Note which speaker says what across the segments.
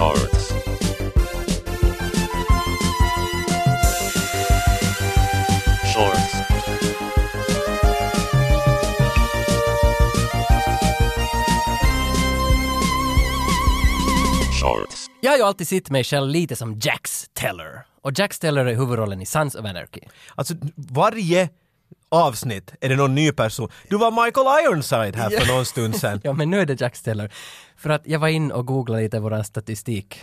Speaker 1: arts shorts shorts
Speaker 2: Jag har ju alltid sett mig själv lite som Jax Teller. Och Jax Teller är huvudrollen i Sons of Anarchy.
Speaker 3: Alltså varje avsnitt är det någon ny person. Du var Michael Ironside här för någon stund sedan.
Speaker 2: Ja, men nu är det Jax Teller. För att jag var in och googlade lite våran statistik.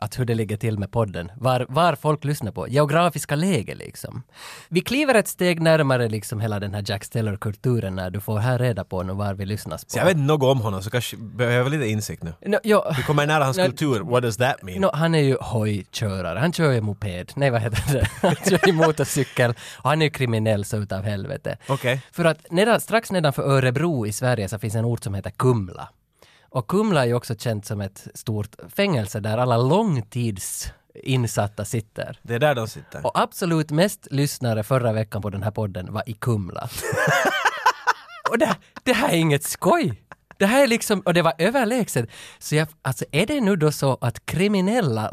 Speaker 2: Att hur det ligger till med podden. Var, var folk lyssnar på. Geografiska läge liksom. Vi kliver ett steg närmare liksom hela den här Jax Teller-kulturen när du får här reda på nu var vi lyssnas på.
Speaker 3: Så jag vet inte något om honom så kanske behöver lite insikt nu.
Speaker 2: Nå, ja.
Speaker 3: Vi kommer nära hans
Speaker 2: Nå,
Speaker 3: kultur, what does that mean?
Speaker 2: Nå, han är ju hojkörare, han kör ju moped, nej vad heter det, han kör ju motorcykel och han är ju kriminell så utav helvete.
Speaker 3: Okej.
Speaker 2: För att nedan, strax nedanför Örebro i Sverige så finns en ort som heter Kumla. Och Kumla är ju också känt som ett stort fängelse där alla långtidsinsatta sitter.
Speaker 3: Det är där de sitter.
Speaker 2: Och absolut mest lyssnare förra veckan på den här podden var i Kumla. och det, det här är inget skoj. Det här är liksom, och det var överlägset. Så jag, alltså är det nu då så att kriminella,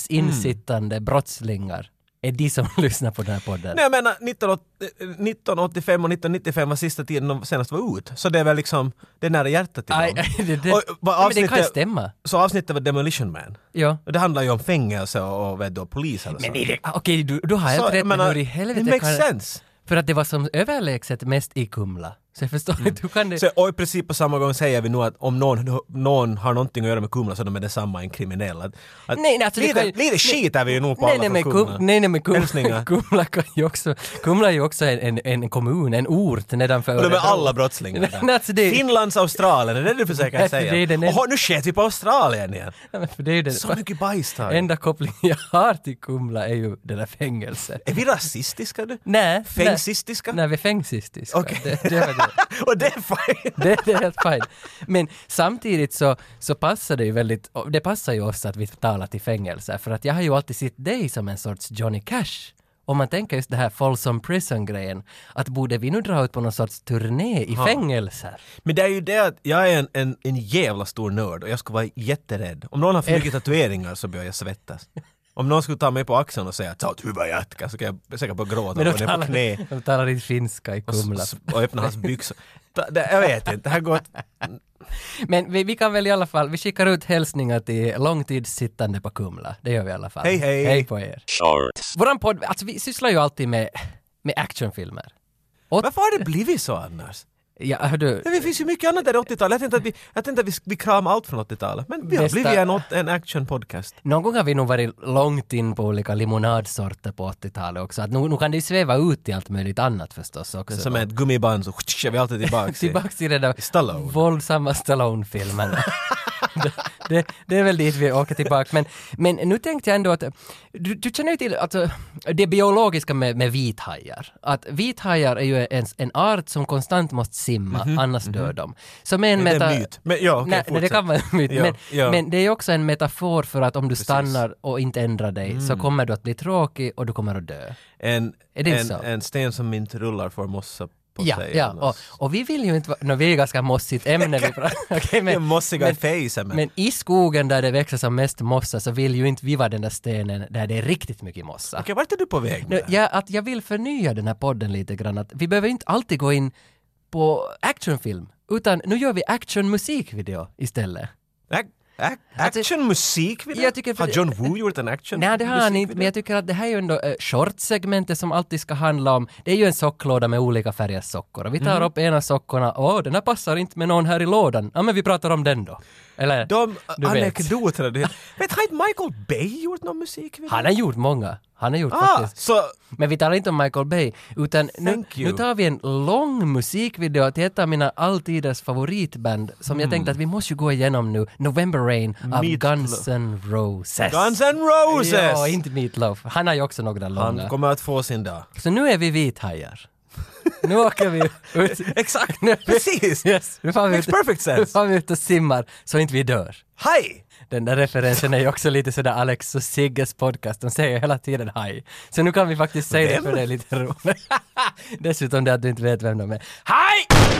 Speaker 2: långtidinsittande brottslingar är de som lyssnar på den här podden?
Speaker 3: Mm. Nej jag menar 1980 eh, 1985 och 1995 var sista tiden de senast var ut. Så det är väl liksom, det är nära hjärtat till
Speaker 2: Aj,
Speaker 3: dem.
Speaker 2: aj, det, det,
Speaker 3: Och vad
Speaker 2: nej, men det kan ju
Speaker 3: avsnittet-
Speaker 2: stämma.
Speaker 3: Så avsnittet var Demolition Man.
Speaker 2: Ja.
Speaker 3: Och Det handlar ju om fängelse och, och, vet du, och polis eller så.
Speaker 2: Men är det, okej, du, du har helt
Speaker 3: jag
Speaker 2: rätt, men
Speaker 3: menar,
Speaker 2: hur i helvete
Speaker 3: Det makes
Speaker 2: kan...
Speaker 3: sense.
Speaker 2: För att det var som överlägset mest i Kumla. Så jag förstår
Speaker 3: Mm.
Speaker 2: inte, hur kan det...
Speaker 3: Så, och i princip på samma gång säger vi nog att om någon, någon har någonting att göra med Kumla så de är detsamma en kriminell. Att, att
Speaker 2: Nej, nej, alltså det
Speaker 3: lite,
Speaker 2: kan ju-
Speaker 3: lite skit är vi ju nog på
Speaker 2: Nej,
Speaker 3: alla
Speaker 2: nej, men
Speaker 3: från
Speaker 2: Kumla. Nej, nej, men Kumla,
Speaker 3: Hälsningar.
Speaker 2: Kumla, kan ju också, Kumla är ju också en, en, en kommun, en ort nedanför
Speaker 3: Och de är
Speaker 2: Örebro.
Speaker 3: alla brottslingar
Speaker 2: Nej,
Speaker 3: där.
Speaker 2: alltså det-
Speaker 3: Finlands Australien, är det det du försöker
Speaker 2: Nej, för det är
Speaker 3: säga?
Speaker 2: den-
Speaker 3: Oho, nu sket vi på Australien igen!
Speaker 2: Ja, men För det är ju den
Speaker 3: Så mycket bajs tar vi.
Speaker 2: enda kopplingen jag har till Kumla är ju det där fängelset.
Speaker 3: Är vi rasistiska du?
Speaker 2: Nej.
Speaker 3: Fängsistiska?
Speaker 2: Nej, nej, vi är fängsistiska.
Speaker 3: Okej.
Speaker 2: Det, det var det.
Speaker 3: Och det är fan...
Speaker 2: Det, det är helt fint. Men samtidigt så, så passar det ju väldigt, och det passar ju oss att vi talar till fängelse, för att jag har ju alltid sett dig som en sorts Johnny Cash. Om man tänker just det här Folsom Prison-grejen, att borde vi nu dra ut på någon sorts turné i fängelser?
Speaker 3: Men det är ju det att jag är en, en, en jävla stor nörd och jag skulle vara jätterädd. Om någon har för mycket tatueringar så börjar jag svettas. Om någon skulle ta mig på axeln och säga ta åt huvudet Jatka", så kan jag säkert bara gråta och gå ner på knä
Speaker 2: de talar inte finska i Kumla.
Speaker 3: och, s- och öppna hans byxor. Ta- det- Jag vet inte, det här går... åt-
Speaker 2: Men vi, vi kan väl i alla fall, vi skickar ut hälsningar till långtidssittande på Kumla. Det gör vi i alla fall.
Speaker 3: Hej, hej.
Speaker 2: Hej på er.
Speaker 1: shorts
Speaker 2: Våran podd, alltså vi sysslar ju alltid med, med actionfilmer. Och,
Speaker 3: Varför har det blivit så annars?
Speaker 2: ja, hördu,
Speaker 3: Det finns ju mycket annat där i 80-talet. Jag tänkte att vi, jag tänkte att vi, vi kramar allt från 80-talet. Men vi har
Speaker 2: Bästa-
Speaker 3: blivit en, åt- en action-podcast.
Speaker 2: Någon gång har vi nog varit långt in på olika limonadsorter på 80-talet också. Att nu, nu kan det ju sväva ut i allt möjligt annat förstås också.
Speaker 3: Som är ett gummiband så är vi alltid tillbaks i.
Speaker 2: Tillbaks till den där
Speaker 3: Stallone.
Speaker 2: våldsamma Stallone-filmen. det, det, det är väl dit vi åker tillbaka. Men, men nu tänkte jag ändå att du, du känner ju till alltså, det biologiska med, med vithajar. Att vithajar är ju en, en art som konstant måste simma, annars dör de. Som är en
Speaker 3: Det Mhm, är
Speaker 2: meta-
Speaker 3: en myt. Men ja, okej,
Speaker 2: nej, nej, det
Speaker 3: fortsätt.
Speaker 2: kan vara en myt.
Speaker 3: Ja,
Speaker 2: men,
Speaker 3: ja.
Speaker 2: men det är ju också en metafor för att om du stannar och inte ändrar dig
Speaker 3: Mm.
Speaker 2: så kommer du att bli tråkig och du kommer att dö.
Speaker 3: En,
Speaker 2: Är det inte
Speaker 3: en,
Speaker 2: så?
Speaker 3: en sten som inte rullar får mossa på
Speaker 2: Ja,
Speaker 3: sig.
Speaker 2: ja. Och, och vi vill ju inte vara... nå, vi är ganska mossigt ämne vi pratar Okej,
Speaker 3: men,
Speaker 2: men,
Speaker 3: mossiga i
Speaker 2: men,
Speaker 3: fejsen. Men,
Speaker 2: men i skogen där det växer som mest mossa så vill ju inte vi vara den där stenen där det är riktigt mycket mossa.
Speaker 3: Okej, vart är du på väg med
Speaker 2: Nu,
Speaker 3: det?
Speaker 2: jag, att jag vill förnya den här podden lite grann. Att vi behöver inte alltid gå in på actionfilm, utan nu gör vi actionmusikvideo istället.
Speaker 3: Ac- ac- Actionmusik? vill
Speaker 2: Alltså- Jag tycker för
Speaker 3: Har
Speaker 2: det-
Speaker 3: John Woo gjort en action?
Speaker 2: Nej, det har han inte, men jag tycker att det här är ju ändå eh, shortsegmentet som alltid ska handla om. Det är ju en socklåda med olika färgers sockor och vi
Speaker 3: Mhm.
Speaker 2: tar upp ena sockorna. Åh, den här passar inte med någon här i lådan. Ja, men vi pratar om den då. Eller,
Speaker 3: De
Speaker 2: du vet.
Speaker 3: anekdoterna du vet. Vet, har inte Michael Bay gjort någon musik?
Speaker 2: Han har gjort många. Han har gjort
Speaker 3: Ah,
Speaker 2: faktiskt.
Speaker 3: så
Speaker 2: Men vi talar inte om Michael Bay, utan nu,
Speaker 3: Thank you.
Speaker 2: nu tar vi en lång musikvideo till ett av mina alltiders favoritband som jag tänkte att vi måste ju gå igenom nu, November Rain av
Speaker 3: Mm. Meat
Speaker 2: Guns N' Roses.
Speaker 3: Guns N' Roses!
Speaker 2: Ja, inte Meatloaf. Han har ju också några långa.
Speaker 3: han kommer att få sin dag.
Speaker 2: Så nu är vi vithajar. Nu åker vi ut.
Speaker 3: Exakt,
Speaker 2: Nu är vi-
Speaker 3: precis!
Speaker 2: Yes, nu får vi
Speaker 3: Makes perfect sense.
Speaker 2: Nu får vi ut och simmar så inte vi dör.
Speaker 3: Hej!
Speaker 2: Den där referensen är ju också lite sådär Alex och Sigges podcast, de säger hela tiden hej. Så nu kan vi faktiskt säga det
Speaker 3: Vem?
Speaker 2: för det är lite roligt. Dessutom det att du inte vet vem de är. Hej!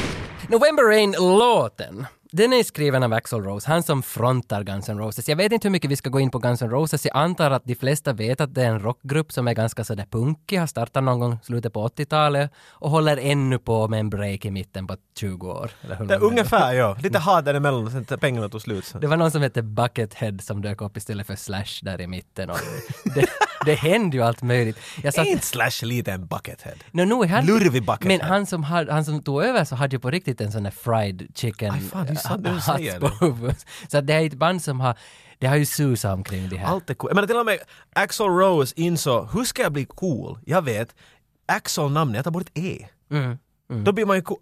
Speaker 2: November Rain-låten. Den är skriven av Axl Rose, han som frontar Guns N' Roses. Jag vet inte hur mycket vi ska gå in på Guns N' Roses. Jag antar att de flesta vet att det är en rockgrupp som är ganska sådär punkig, har startat någon gång i slutet på 80-talet och håller ännu på med en break i mitten på 20 år. Eller hur
Speaker 3: Det,
Speaker 2: lång den är.
Speaker 3: ungefär ja, lite hard däremellan och sen t- pengarna tog slut. sen.
Speaker 2: Mm. Det var någon som hette Buckethead som dök upp istället för Slash där i mitten. Och det, det hände ju allt möjligt. Jag
Speaker 3: Är
Speaker 2: satt,
Speaker 3: inte Slash lite en buckethead?
Speaker 2: no, nu är han,
Speaker 3: Lurvig Buckethead.
Speaker 2: men han som, hade, han som tog över så hade ju på riktigt en sån där fried chicken
Speaker 3: Aj, fan, det är sant det du
Speaker 2: hats
Speaker 3: säger.
Speaker 2: på huvudet. Så att det är ett band som har, det har ju susat omkring det här.
Speaker 3: Allt är cool. Jag menar till och med Axl Rose insåg, hur ska jag bli cool? Jag vet, Axl namnet, jag tar bort ett E.
Speaker 2: Mm.
Speaker 3: Då blir man ju cool.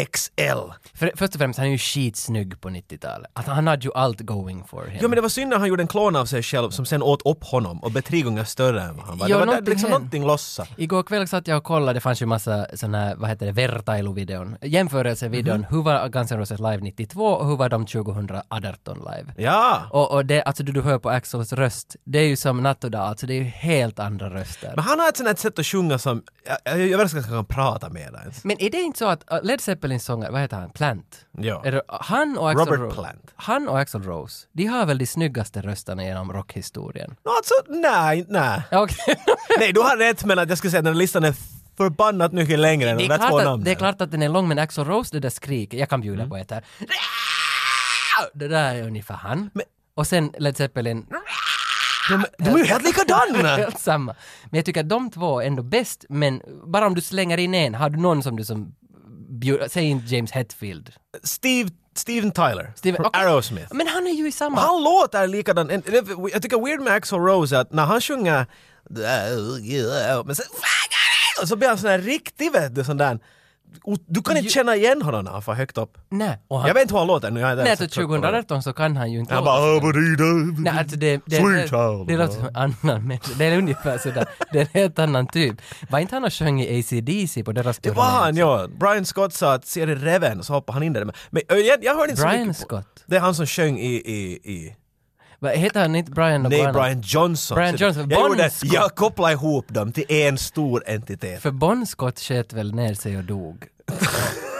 Speaker 3: AXL.
Speaker 2: För, först och främst, han är ju skitsnygg på 90-talet. Att han hade ju allt going for him.
Speaker 3: Ja men det var synd när han gjorde en klon av sig själv som sen åt upp honom och blev tre gånger större än vad han var.
Speaker 2: Ja,
Speaker 3: det var
Speaker 2: någonting
Speaker 3: där, liksom
Speaker 2: hände.
Speaker 3: någonting lossa.
Speaker 2: Igår kväll satt jag och kollade, det fanns ju massa såna här, vad heter det, Vertailu-videon. Jämförelsevideon,
Speaker 3: Mhm.
Speaker 2: hur var Guns N' Roses live 92 och hur var de 2018 live?
Speaker 3: Ja!
Speaker 2: Och, och det, alltså du, du hör på Axels röst, det är ju som natt och dag, alltså det är ju helt andra röster.
Speaker 3: Men han har ett sånt här sätt att sjunga som, jag, jag, jag vet inte ens om han kan prata med det ens.
Speaker 2: Men är det inte så att äh, Led Zeppelins sångare, vad heter han, Plant?
Speaker 3: Ja.
Speaker 2: Är det, uh, han och Axel
Speaker 3: Robert
Speaker 2: Rose,
Speaker 3: Plant.
Speaker 2: Han och Axel Rose, de har väl de snyggaste rösterna genom rockhistorien?
Speaker 3: Nå alltså, nej, nej.
Speaker 2: Ja, okej.
Speaker 3: Nej, du har rätt men att jag skulle säga att den här listan är förbannat mycket längre än
Speaker 2: Det
Speaker 3: de
Speaker 2: är,
Speaker 3: där två Mm.
Speaker 2: klart att,
Speaker 3: namnen.
Speaker 2: det är klart att den är lång, men Axl Rose, det där skriket, jag kan bjuda på ett här. Det där är ungefär han.
Speaker 3: Men-
Speaker 2: och sen Led Zeppelin,
Speaker 3: De, de är ju helt likadana!
Speaker 2: helt samma. Men jag tycker att de två är ändå bäst, men bara om du slänger in en, har du någon som du som bjud, säg inte James Hetfield.
Speaker 3: Steve, Steven Tyler
Speaker 2: Steven-
Speaker 3: från
Speaker 2: okej.
Speaker 3: Aerosmith.
Speaker 2: Men han är ju i samma...
Speaker 3: Han låter likadan. En- det- Jag tycker weird med Axl Rose är att när han sjunger men sen, och så blir han sån här riktig vet du, sån där och du kan inte känna igen honom när han får högt upp.
Speaker 2: Nej, och han,
Speaker 3: Jag vet inte hur han låter nu. Jag är
Speaker 2: nej,
Speaker 3: inte
Speaker 2: så
Speaker 3: så trött på honom.
Speaker 2: 2018 så kan han ju inte
Speaker 3: Han
Speaker 2: låta
Speaker 3: bara...
Speaker 2: så.
Speaker 3: "Abadida."
Speaker 2: Nej, alltså det, det,
Speaker 3: Sweet
Speaker 2: det,
Speaker 3: child.
Speaker 2: det låter som en annan människa. Det är ungefär sådär. Det är en helt annan typ. Var inte han och sjöng i AC/DC på deras
Speaker 3: Det var han ja. Brian Scott sa att ser det reven så hoppar han in där. Men, men jag, jag hörde inte så
Speaker 2: Brian
Speaker 3: mycket på-
Speaker 2: Scott?
Speaker 3: Det är han som sjöng i... i, i
Speaker 2: Vad heter han inte Brian något
Speaker 3: nej,
Speaker 2: annat?
Speaker 3: Brian Johnson.
Speaker 2: Brian
Speaker 3: Så det-
Speaker 2: Johnson,
Speaker 3: Jag,
Speaker 2: Bon
Speaker 3: gjorde,
Speaker 2: Scott.
Speaker 3: jag kopplade ihop dem till en stor entitet.
Speaker 2: För Bon Scott sköt väl ner sig och dog?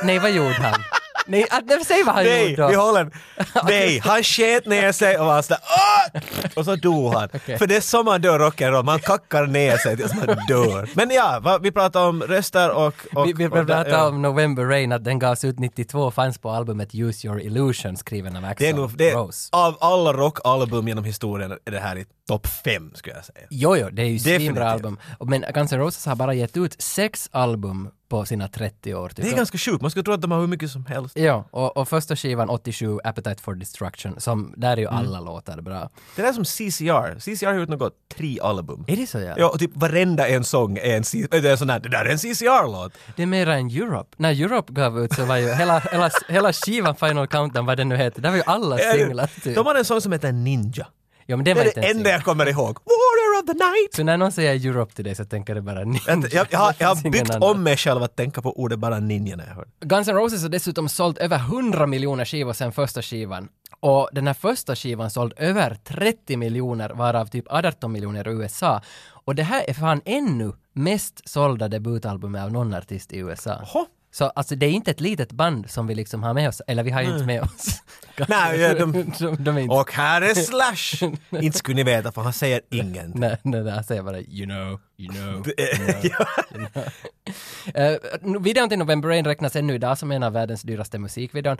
Speaker 2: nej, vad gjorde han? Nej, att, nej säg vad han
Speaker 3: Nej,
Speaker 2: gjorde då.
Speaker 3: vi håller Nej, han sket ner sig och var sådär Åh! Och så dog han.
Speaker 2: Okej.
Speaker 3: För det är så man dör rock'n'roll, man kackar ner sig tills man dör. Men ja, va, vi pratar om röster och... och
Speaker 2: Vi, vi
Speaker 3: och där-
Speaker 2: pratade
Speaker 3: ja.
Speaker 2: om November Rain, att den gavs ut 92 fanns på albumet Use Your Illusion skriven av Axl
Speaker 3: Det är nog, det,
Speaker 2: Rose.
Speaker 3: av alla rockalbum genom historien är det här i topp fem skulle jag säga.
Speaker 2: Jo, jo, det är ju
Speaker 3: Definitivt.
Speaker 2: svinbra album. Men Guns N' Roses har bara gett ut sex album på sina 30 år. Typ.
Speaker 3: Det är ganska sjukt, man skulle tro att de har hur mycket som helst.
Speaker 2: Ja, och, och första skivan 87, Appetite for Destruction, som, där är ju
Speaker 3: Mm.
Speaker 2: alla låtar bra.
Speaker 3: Det där är som CCR, CCR har gjort något, tre album.
Speaker 2: Är det så jävla?
Speaker 3: Ja, och typ varenda en sång är en, C- äh, det är sån här, det där är en CCR-låt.
Speaker 2: Det är mera än Europe. När Europe gav ut så var ju hela, hela, hela skivan Final Countdown, vad den nu heter, där var ju alla
Speaker 3: Är det-
Speaker 2: singlar typ.
Speaker 3: De har en sång som heter Ninja.
Speaker 2: Ja men det
Speaker 3: Det
Speaker 2: var
Speaker 3: är
Speaker 2: inte
Speaker 3: det
Speaker 2: en
Speaker 3: enda
Speaker 2: singel.
Speaker 3: jag kommer ihåg. Warrior of the night!
Speaker 2: Så när någon säger Europe till dig så tänker du bara ninja.
Speaker 3: Jag, jag, jag, har- jag
Speaker 2: Det
Speaker 3: har
Speaker 2: finns ingen
Speaker 3: byggt
Speaker 2: annan.
Speaker 3: om mig själv att tänka på ordet bara ninja när jag hör.
Speaker 2: Guns N' Roses har dessutom sålt över 100 miljoner skivor sen första skivan. Och den här första skivan såld över 30 miljoner, varav typ 18 miljoner i USA. Och det här är fan ännu mest sålda debutalbumet av någon artist i USA.
Speaker 3: Jaha.
Speaker 2: Så alltså det är inte ett litet band som vi liksom har med oss, eller vi har ju inte med oss.
Speaker 3: Nej, ja, de-
Speaker 2: de, de är inte...
Speaker 3: Och här är Slash! inte skulle ni veta för han säger ingenting.
Speaker 2: Nej, nej, nej, han säger bara you know, you know.
Speaker 3: Ja.
Speaker 2: Eh, videon till November Rain räknas ännu idag som en av världens dyraste musikvideon.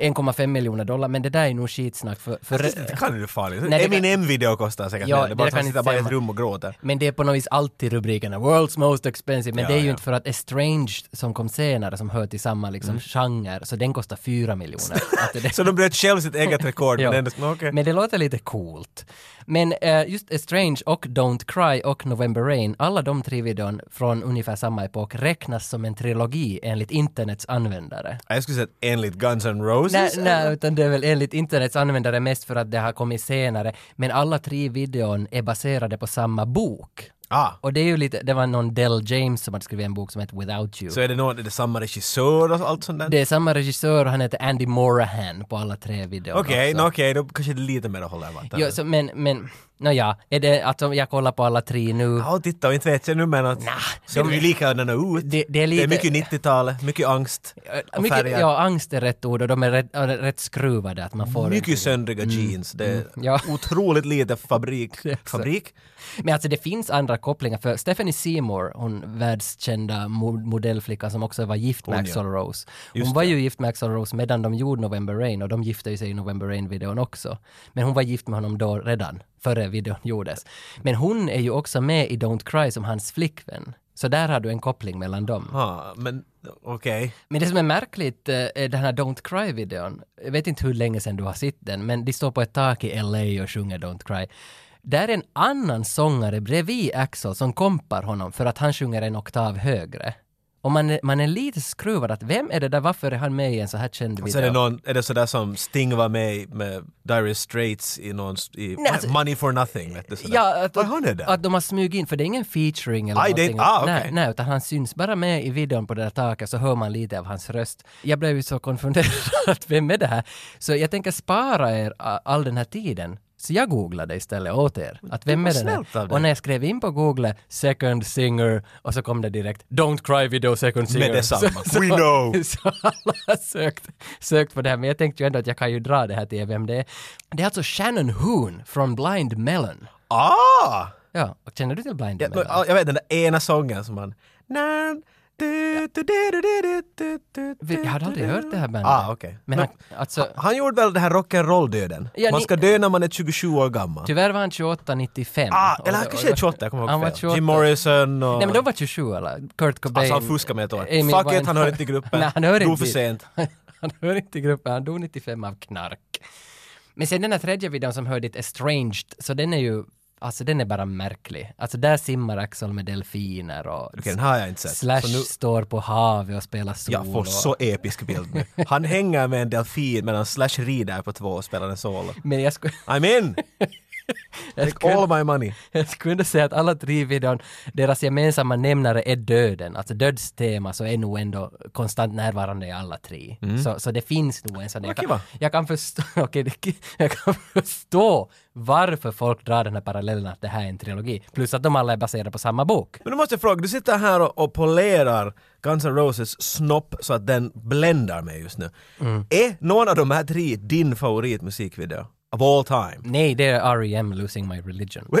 Speaker 2: 1,5 miljoner dollar, men det där är nog skitsnack för... för
Speaker 3: det kan du farligt.
Speaker 2: Nej, det kan-
Speaker 3: Eminem-video kostar säkert
Speaker 2: Ja,
Speaker 3: mer. Det är bara
Speaker 2: det
Speaker 3: att
Speaker 2: kan
Speaker 3: han
Speaker 2: inte
Speaker 3: sitter bara i ett
Speaker 2: stämma.
Speaker 3: rum och gråter.
Speaker 2: men det är på något vis alltid rubrikerna “World's most expensive”, men
Speaker 3: Ja,
Speaker 2: det är ju
Speaker 3: ja.
Speaker 2: inte för att “Estranged” som kom senare, som hör till samma liksom,
Speaker 3: Mm.
Speaker 2: genre, så den kostar 4 miljoner. Att det-
Speaker 3: Så de bröt själv sitt eget rekord.
Speaker 2: Ja.
Speaker 3: men ändå, okej.
Speaker 2: Men det låter lite coolt. Men eh, just Estrange och Don't Cry och November Rain, alla de tre videon från ungefär samma epok räknas som en trilogi enligt internets användare.
Speaker 3: Jag skulle säga att enligt Guns N' Roses.
Speaker 2: Nej, nej, utan det är väl enligt internets användare mest för att det har kommit senare. Men alla tre videon är baserade på samma bok.
Speaker 3: Ah.
Speaker 2: Och det är ju lite, det var någon Del James som hade skrivit en bok som heter Without You.
Speaker 3: Så är det någon, är det samma regissör och allt sånt där?
Speaker 2: Det är samma regissör och han heter Andy Morahan på alla tre videorna
Speaker 3: Okej,
Speaker 2: också.
Speaker 3: nå okej, då kanske det lite mer håller vatten.
Speaker 2: Jo, så, men, men, nåja, är det att om jag kollar på alla tre nu?
Speaker 3: Ja, titta, och inte vet jag nu men att...
Speaker 2: Nah,
Speaker 3: ser
Speaker 2: de
Speaker 3: de ju
Speaker 2: är-
Speaker 3: likadana ut.
Speaker 2: Det- det är lite-
Speaker 3: mycket 90-talet, mycket angst och
Speaker 2: Mycket,
Speaker 3: färger.
Speaker 2: ja, angst är rätt ord och de är rätt, är rätt skruvade att man får en-
Speaker 3: mycket söndriga jeans. Det är
Speaker 2: Mm. Ja.
Speaker 3: otroligt lite fabrik. fabrik?
Speaker 2: Men alltså det finns andra kopplingar för Stephanie Seymour, hon världskända mo- modellflickan som också var gift med
Speaker 3: Hon, ja.
Speaker 2: Axl Rose. Hon
Speaker 3: Just
Speaker 2: var
Speaker 3: det.
Speaker 2: ju gift med Axl Rose medan de gjorde November Rain och de gifte ju sig i November Rain-videon också. Men hon var gift med honom då redan, före videon gjordes. Men hon är ju också med i Don't Cry som hans flickvän. Så där har du en koppling mellan dem.
Speaker 3: Ja, men okej.
Speaker 2: Men det som är märkligt eh, är den här Don't Cry-videon. Jag vet inte hur länge sedan du har sett den, men de står på ett tak i LA och sjunger Don't Cry. Där är en annan sångare bredvid Axel som kompar honom för att han sjunger en oktav högre. Och man är, man är lite skruvad att vem är det där, varför är han med i en så här känd video?
Speaker 3: Så är det, någon, är det sådär som Sting var med i- med Dire Straits i någon... I
Speaker 2: Nej, alltså-
Speaker 3: Money for nothing, vet du sådär.
Speaker 2: Ja, att,
Speaker 3: Vad han är där?
Speaker 2: att de har smugit in, för det är ingen featuring eller
Speaker 3: Aj, det är-
Speaker 2: någonting.
Speaker 3: ah,
Speaker 2: nej,
Speaker 3: okej.
Speaker 2: nej, utan han syns bara med i videon på det där taket så hör man lite av hans röst. Jag blev ju så konfunderad, att vem är det här? Så jag tänker spara er a- all den här tiden. Så jag googlade istället åt er, att vem
Speaker 3: var
Speaker 2: är den
Speaker 3: snällt av
Speaker 2: här?
Speaker 3: dig.
Speaker 2: Och när jag skrev in på Google, second singer, och så kom det direkt, don't cry video second singer.
Speaker 3: Med detsamma.
Speaker 2: Så, så,
Speaker 3: We know.
Speaker 2: så alla har sökt, sökt på det här, men jag tänkte ju ändå att jag kan ju dra det här till er vem det är. Det är alltså Shannon Hoon från Blind Melon.
Speaker 3: Ah!
Speaker 2: Ja, och känner du till Blind
Speaker 3: Ja,
Speaker 2: Melon?
Speaker 3: men, jag vet den där ena sången som man... Nan, du, du, du, du, du, du, du, du, du,
Speaker 2: jag hade aldrig
Speaker 3: du,
Speaker 2: hört det här bandet.
Speaker 3: Ah, okej.
Speaker 2: Men
Speaker 3: Men
Speaker 2: han, alltså,
Speaker 3: Han gjorde väl det här rock'n'roll-döden?
Speaker 2: Ja,
Speaker 3: man
Speaker 2: ni-
Speaker 3: ska dö när man är 27 år gammal.
Speaker 2: tyvärr var han 28, 95.
Speaker 3: Ah,
Speaker 2: Och-
Speaker 3: eller han
Speaker 2: och-
Speaker 3: kanske är 28, jag kommer
Speaker 2: Han
Speaker 3: ihåg
Speaker 2: var
Speaker 3: fel.
Speaker 2: 28.
Speaker 3: Jim Morrison och...
Speaker 2: Nej men de var 27 eller? Kurt Cobain.
Speaker 3: Alltså han fuskar med ett år.
Speaker 2: Amy
Speaker 3: Fuck it,
Speaker 2: Winehouse.
Speaker 3: han hör inte till gruppen.
Speaker 2: Nej, han hör
Speaker 3: Dog
Speaker 2: inte
Speaker 3: för
Speaker 2: dit.
Speaker 3: sent.
Speaker 2: han hör inte i gruppen, han dog 95 av knark. Men sen den här tredje videon som hör dit Estranged, så den är ju, alltså den är bara märklig. Alltså där simmar Axel med delfiner och
Speaker 3: Okej, den har jag inte sett.
Speaker 2: Slash
Speaker 3: Så nu,
Speaker 2: står på havet och spelar solo.
Speaker 3: jag får så episk bild nu. Han hänger med en delfin medan Slash rider på två och spelar en solo.
Speaker 2: Men jag skulle...
Speaker 3: I'm in! Take all my money.
Speaker 2: Jag skulle ändå säga att alla tre videon, deras gemensamma nämnare är döden. Alltså dödstema så är nog ändå konstant närvarande i alla tre. Så, så det finns nog en sån... Jag
Speaker 3: Mm. Okej,
Speaker 2: kan,
Speaker 3: va?
Speaker 2: jag, kan förstå, okej, det- jag kan förstå varför folk drar den här parallellen att det här är en trilogi. Plus att de alla är baserade på samma bok.
Speaker 3: Men nu måste jag fråga, du sitter här och, och polerar Guns N' Roses snopp så att den bländar mig just nu.
Speaker 2: Mm.
Speaker 3: Är någon av de här tre din favoritmusikvideo? Of all time?
Speaker 2: Nej, det är R.E.M. Losing My Religion. Ja.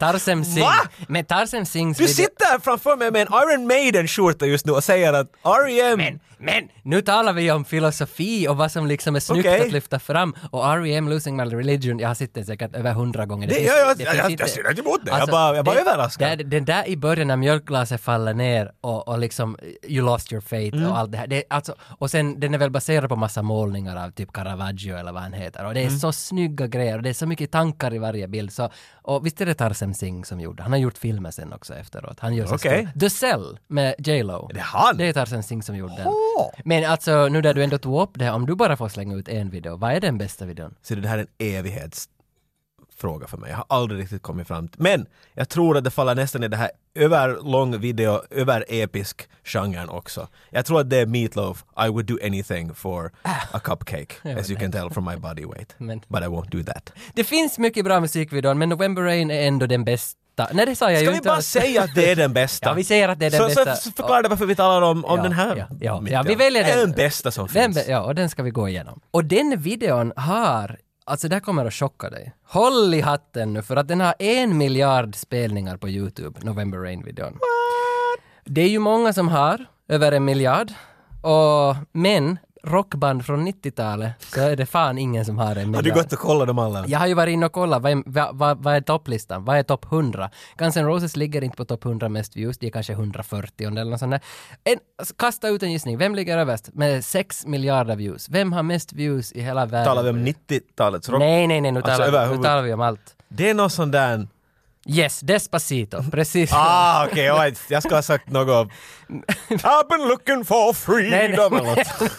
Speaker 2: Tarsem Singh.
Speaker 3: Va?
Speaker 2: Men Tarsem Singhs
Speaker 3: Du
Speaker 2: video-
Speaker 3: sitter här framför mig med en Iron Maiden-skjorta just nu och säger att E R.E.M.
Speaker 2: Men, men, nu talar vi om filosofi och vad som liksom är snyggt
Speaker 3: Okej.
Speaker 2: att lyfta fram. Och R.E.M. Losing My Religion, jag har sett den säkert över hundra gånger.
Speaker 3: Det-
Speaker 2: finns-
Speaker 3: ja, ja, jag-
Speaker 2: finns
Speaker 3: jag-
Speaker 2: inte- Alltså,
Speaker 3: jag ser inte emot det. Jag bara- jag bara
Speaker 2: det-
Speaker 3: överraskad.
Speaker 2: det- Den där i början när mjölkglaset faller ner och, och liksom you lost your faith
Speaker 3: Mm.
Speaker 2: och allt det här. Det, är alltså, och sen den är väl baserad på massa målningar av typ Caravaggio eller vad han heter. Och det är
Speaker 3: Mm.
Speaker 2: så snygga grejer och det är så mycket tankar i varje bild. Så, och visst är det Tarsem Singh som gjorde? Han har gjort filmer sen också efteråt. Han gör så
Speaker 3: Okej.
Speaker 2: stor- The Cell med J Lo.
Speaker 3: Det är han?
Speaker 2: Det är Tarzan Singh som gjorde den.
Speaker 3: Åh!
Speaker 2: Men alltså nu där du ändå tog upp det här, om du bara får slänga ut en video, vad är den bästa videon?
Speaker 3: Så det här är en evighetsfråga för mig. Jag har aldrig riktigt kommit fram till. Men jag tror att det faller nästan i det här överlång video, överepisk genren också. Jag tror att det är Meatloaf, I would do anything for a cupcake. As you can tell from my body weight.
Speaker 2: Men-
Speaker 3: But I won't do that.
Speaker 2: Det finns mycket bra musikvideon, men November Rain är ändå den bästa. Nej det sa jag
Speaker 3: Ska
Speaker 2: ju
Speaker 3: vi
Speaker 2: inte
Speaker 3: bara
Speaker 2: alls.
Speaker 3: säga att det är den bästa?
Speaker 2: Ja, vi säger att det är den
Speaker 3: så,
Speaker 2: bästa.
Speaker 3: Så förklara varför vi talar om, om
Speaker 2: Ja,
Speaker 3: den här.
Speaker 2: ja, ja,
Speaker 3: mitt
Speaker 2: ja, vi
Speaker 3: i allt.
Speaker 2: väljer
Speaker 3: Det är
Speaker 2: den.
Speaker 3: den bästa som
Speaker 2: den,
Speaker 3: finns.
Speaker 2: be- Ja, och den ska vi gå igenom. Och den videon har, alltså det här kommer att chocka dig. Håll i hatten nu för att den har en miljard spelningar på Youtube, November Rain-videon. Det är ju många som har, över en miljard. Och, men rockband från 90-talet så är det fan ingen som har en miljard.
Speaker 3: Har du gått och kollat dem alla?
Speaker 2: Jag har ju varit inne och kollat, vad är, vad, vad, vad är topplistan? Vad är topp 100? Guns N' Roses ligger inte på topp 100 mest views, de är kanske 140 eller något sånt där. En, alltså, kasta ut en gissning, vem ligger överst med 6 miljarder views? Vem har mest views i hela världen?
Speaker 3: Talar vi om 90-talets rock?
Speaker 2: Nej, nej, nej, nu,
Speaker 3: Alltså,
Speaker 2: talar, nu
Speaker 3: överhuvud-
Speaker 2: talar vi om allt.
Speaker 3: Det är någon sån där
Speaker 2: Yes, Despacito, precis.
Speaker 3: Ah, okej, okay, jag ska ha sagt något. I've been looking for
Speaker 2: nej, nej,
Speaker 3: freedom. eller något.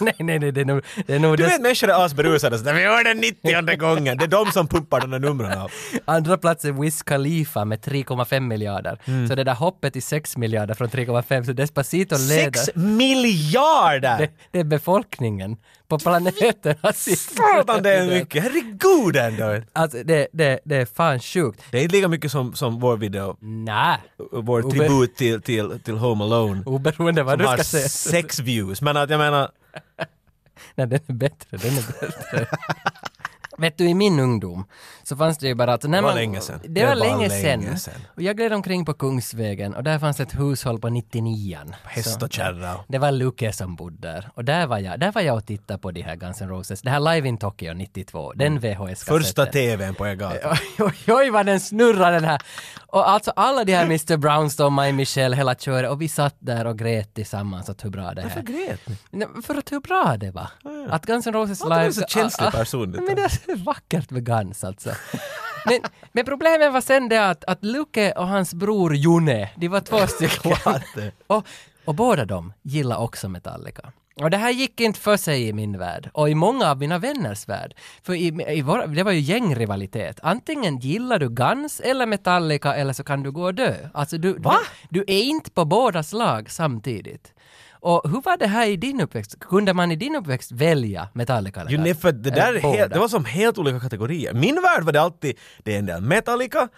Speaker 2: nej, nej, nej, det är nog... Det är nog
Speaker 3: Du
Speaker 2: Des-
Speaker 3: vet människor är asberusade sådär, vi hör den 90 gången. Det är de som pumpar de där numren av.
Speaker 2: Andra plats är Wiz Khalifa med 3,5 miljarder. Så det där hoppet till 6 miljarder från 3,5, så Despacito leder.
Speaker 3: Mm. Sex miljarder!
Speaker 2: Det, det är befolkningen på planeten.
Speaker 3: Satan det är mycket, herregud ändå!
Speaker 2: Alltså det, det, det är fan sjukt.
Speaker 3: Det är inte lika mycket som, som vår video,
Speaker 2: Nej,
Speaker 3: vår
Speaker 2: Ove-
Speaker 3: tribut till, till, till Home Alone.
Speaker 2: oberoende vad du
Speaker 3: Som har
Speaker 2: ska säga.
Speaker 3: sex views, men att jag menar,
Speaker 2: Nej, den är bättre, den är bättre. Vet du, i min ungdom så fanns det ju bara att... När
Speaker 3: Det var
Speaker 2: man,
Speaker 3: länge sedan.
Speaker 2: Det,
Speaker 3: Det
Speaker 2: var,
Speaker 3: var
Speaker 2: länge,
Speaker 3: länge
Speaker 2: sedan.
Speaker 3: sedan.
Speaker 2: Och jag gled omkring på Kungsvägen och där fanns ett hushåll på 99an.
Speaker 3: häst och kärra.
Speaker 2: Det var Luke som bodde där. Och där var jag, där var jag och tittade på de här Guns N' Roses. Det här Live in Tokyo 92, den VHS-kassetten.
Speaker 3: Mm. Första TVn på er gata.
Speaker 2: Oj, oj, oj vad den snurrar den här. Och alltså alla de här Mr. Brownstone, My Michelle, hela köret och vi satt där och grät tillsammans att hur bra det här.
Speaker 3: grät ni?
Speaker 2: Nej, men För att hur bra det var. Att Guns N' Roses
Speaker 3: Var inte
Speaker 2: live...
Speaker 3: du så känslig
Speaker 2: Ah, ah.
Speaker 3: person, det
Speaker 2: Men det är så vackert med Guns alltså. Men, men problemet var sen det att, att Luke och hans bror June, de var två stycken.
Speaker 3: Klart det.
Speaker 2: och, och båda de gillar också Metallica. Och det här gick inte för sig i min värld och i många av mina vänners värld. För i, i vår, det var ju gängrivalitet. Antingen gillar du Guns eller Metallica eller så kan du gå och dö. Alltså du, du, du är inte på bådas lag samtidigt. Och hur var det här i din uppväxt? Kunde man i din uppväxt välja Metallica eller
Speaker 3: Jo, nej, för det där
Speaker 2: Eller
Speaker 3: är helt,
Speaker 2: Äh, båda?
Speaker 3: det var som helt olika kategorier. Min värld var det alltid, det är en del Metallica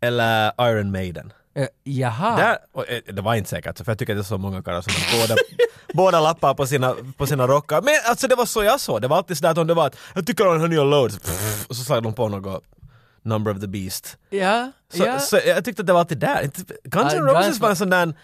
Speaker 3: eller Iron Maiden.
Speaker 2: Eh, Jaha.
Speaker 3: Där, och, eh, det var inte säkert, för jag tycker att det är så många karlar som har båda, båda lappar på sina, på sina rockar. Men alltså det var så jag såg, det var alltid sådär att om det var att jag tycker om den här nya Load, så, pff, och så slog de på något Number of the Beast.
Speaker 2: Ja,
Speaker 3: Så,
Speaker 2: ja.
Speaker 3: så jag tyckte att det var alltid där. Inte- Guns
Speaker 2: Ah,
Speaker 3: N' Roses
Speaker 2: Guns-
Speaker 3: var en sån där,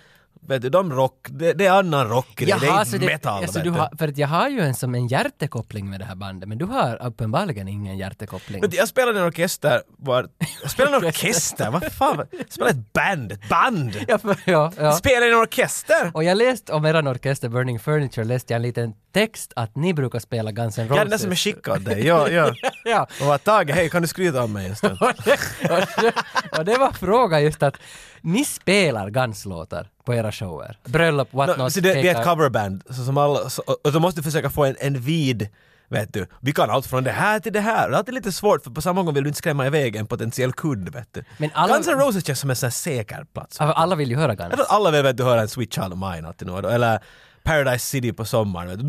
Speaker 3: vet du, de rock, det, det är annan rock, det är
Speaker 2: Jaha,
Speaker 3: inte metal.
Speaker 2: alltså,
Speaker 3: vet
Speaker 2: du
Speaker 3: du.
Speaker 2: har, för att jag har ju en som en hjärtekoppling med det här bandet, men du har uppenbarligen ingen hjärtekoppling.
Speaker 3: Men jag spelade i en orkester, var, jag spelade i en orkester, vad fan, jag spelade i ett band, ett band!
Speaker 2: ja, för, ja, ja.
Speaker 3: Jag spelade i en orkester!
Speaker 2: Och jag läste om eran orkester Burning Furniture, läste jag en liten text att ni brukar spela Guns N'
Speaker 3: Jag är
Speaker 2: Roses.
Speaker 3: den där som är skickad åt dig, ja, ja.
Speaker 2: ja.
Speaker 3: Och var Tage, hej kan du skryta om mig en stund?
Speaker 2: Och det, och, det, och det var frågan just att ni spelar Guns-låtar på era shower. Bröllop, what
Speaker 3: No,
Speaker 2: not.
Speaker 3: så det, vi är ett
Speaker 2: pekar-
Speaker 3: coverband, så som alla, så, och och så måste du försöka få en, en vid Vet du, vi kan allt från det här till det här. Det är alltid lite svårt för på samma gång vill du inte skrämma iväg en potentiell kund vet du.
Speaker 2: Men alla-
Speaker 3: Guns N' Roses känns som en sån här säker plats.
Speaker 2: Alla vill ju höra Guns.
Speaker 3: Jag tror att alla vill vet du höra en Sweet Child of Mine alltid nu och då, eller Paradise City på sommaren. Vet du.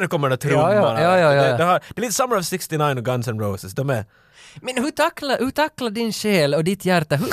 Speaker 3: Nu kommer de där trummorna.
Speaker 2: Ja, ja, ja, ja, ja.
Speaker 3: Det, det, har, det är lite Summer of 69 och Guns N' Roses. De är...
Speaker 2: Men hur tacklar, hur tacklar din själ och ditt hjärta? Hur,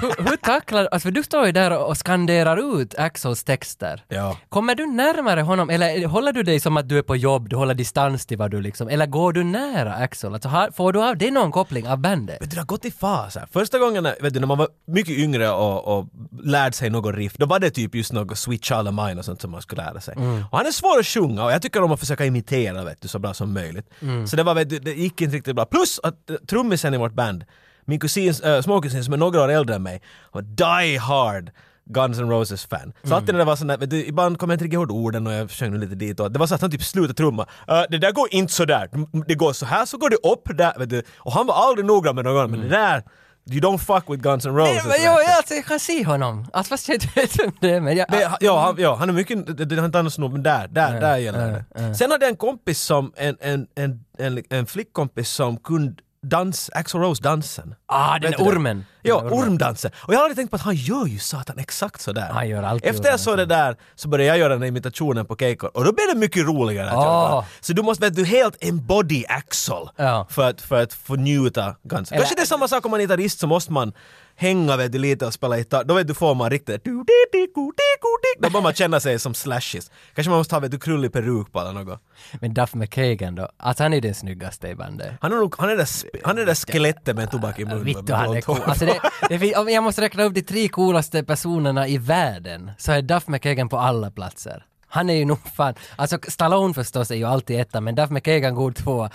Speaker 2: hur, hur tacklar, alltså för du står ju där och skanderar ut Axels texter.
Speaker 3: Ja.
Speaker 2: Kommer du närmare honom eller håller du dig som att du är på jobb, du håller distans till vad du liksom, eller går du nära Axel? Alltså, har, får du av det någon koppling av bandet?
Speaker 3: Vet du, det har gått i faser. Första gången när, vet du, när man var mycket yngre och, och lärde sig något riff, då var det typ just något Sweet Child of Mine och sånt som man skulle lära sig.
Speaker 2: Mm.
Speaker 3: Och han är svår att sjunga och jag tycker om att försöka imitera vet du, så bra som möjligt.
Speaker 2: Mm.
Speaker 3: Så det, var, vet du, det gick inte riktigt bra. Plus att eh, trummisen i vårt band, min kusin, äh, småkusin som är några år äldre än mig, var die hard Guns N' Roses-fan. Så alltid när det var sån där, vet du, ibland kom jag inte riktigt ihåg orden och jag sjöng nu lite dit och det var så att han typ slutade trumma. "Eh, det där går inte sådär, det går så här så går det upp där, vet du. Och han var aldrig noggrann med någon, men det där, you don't fuck with Guns N' Roses.
Speaker 2: Mm. Nej, men jag, jag, alltså, jag kan se honom. Alltså fast jag inte vet vem det är, men jag...
Speaker 3: Det, ja, han, ja, han är mycket, det, det har inte annars nog, men där, där, där gäller det. Sen hade jag en kompis som, en, en, en, en, en flickkompis som kunde dans, Axl Rose-dansen.
Speaker 2: ah, den
Speaker 3: Vet
Speaker 2: där
Speaker 3: du det?
Speaker 2: ormen.
Speaker 3: Ja,
Speaker 2: Den där ormen.
Speaker 3: ormdansen. Och jag har aldrig tänkt på att han gör ju satan exakt sådär.
Speaker 2: Han gör alltid
Speaker 3: Efter jag såg det
Speaker 2: ormdansen.
Speaker 3: där så började jag göra den här imitationen på Keiko och då blev det mycket roligare. att
Speaker 2: Åh.
Speaker 3: göra. Så du måste vet du helt embody Axel
Speaker 2: Ah. Ja.
Speaker 3: för, att, för att få njuta Guns.
Speaker 2: Eller-
Speaker 3: Kanske det är samma sak om man är gitarrist så måste man hänga vet du, lite och spela gitarr. Då vet du får man riktigt du, di, di, go, di, go, di. Då börjar man känna sig som slashes. Kanske man måste ha vet du, krullig peruk på eller något.
Speaker 2: Men Duff McKagan då, alltså han är den snyggaste i bandet.
Speaker 3: Han är, nog, han är det där, sp- han är det där skelettet med en tobak i munnen.
Speaker 2: Vittu
Speaker 3: med
Speaker 2: han är
Speaker 3: blont
Speaker 2: cool.
Speaker 3: hår.
Speaker 2: Alltså det, det fin- om jag måste räkna upp de tre coolaste personerna i världen så är Duff McKagan på alla platser. Han är ju nog fan, alltså Stallone förstås är ju alltid etta men Duff McKagan går två.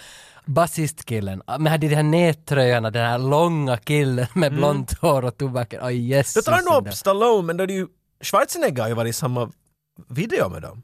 Speaker 2: Basistkillen, med de här nättröjorna, den här långa killen med blont hår och tobaken. Oj Jesus.
Speaker 3: Mm. Jag tar
Speaker 2: den
Speaker 3: nog
Speaker 2: där.
Speaker 3: upp Stallone, men då är det ju... Schwarzenegger har ju varit i samma video med dem.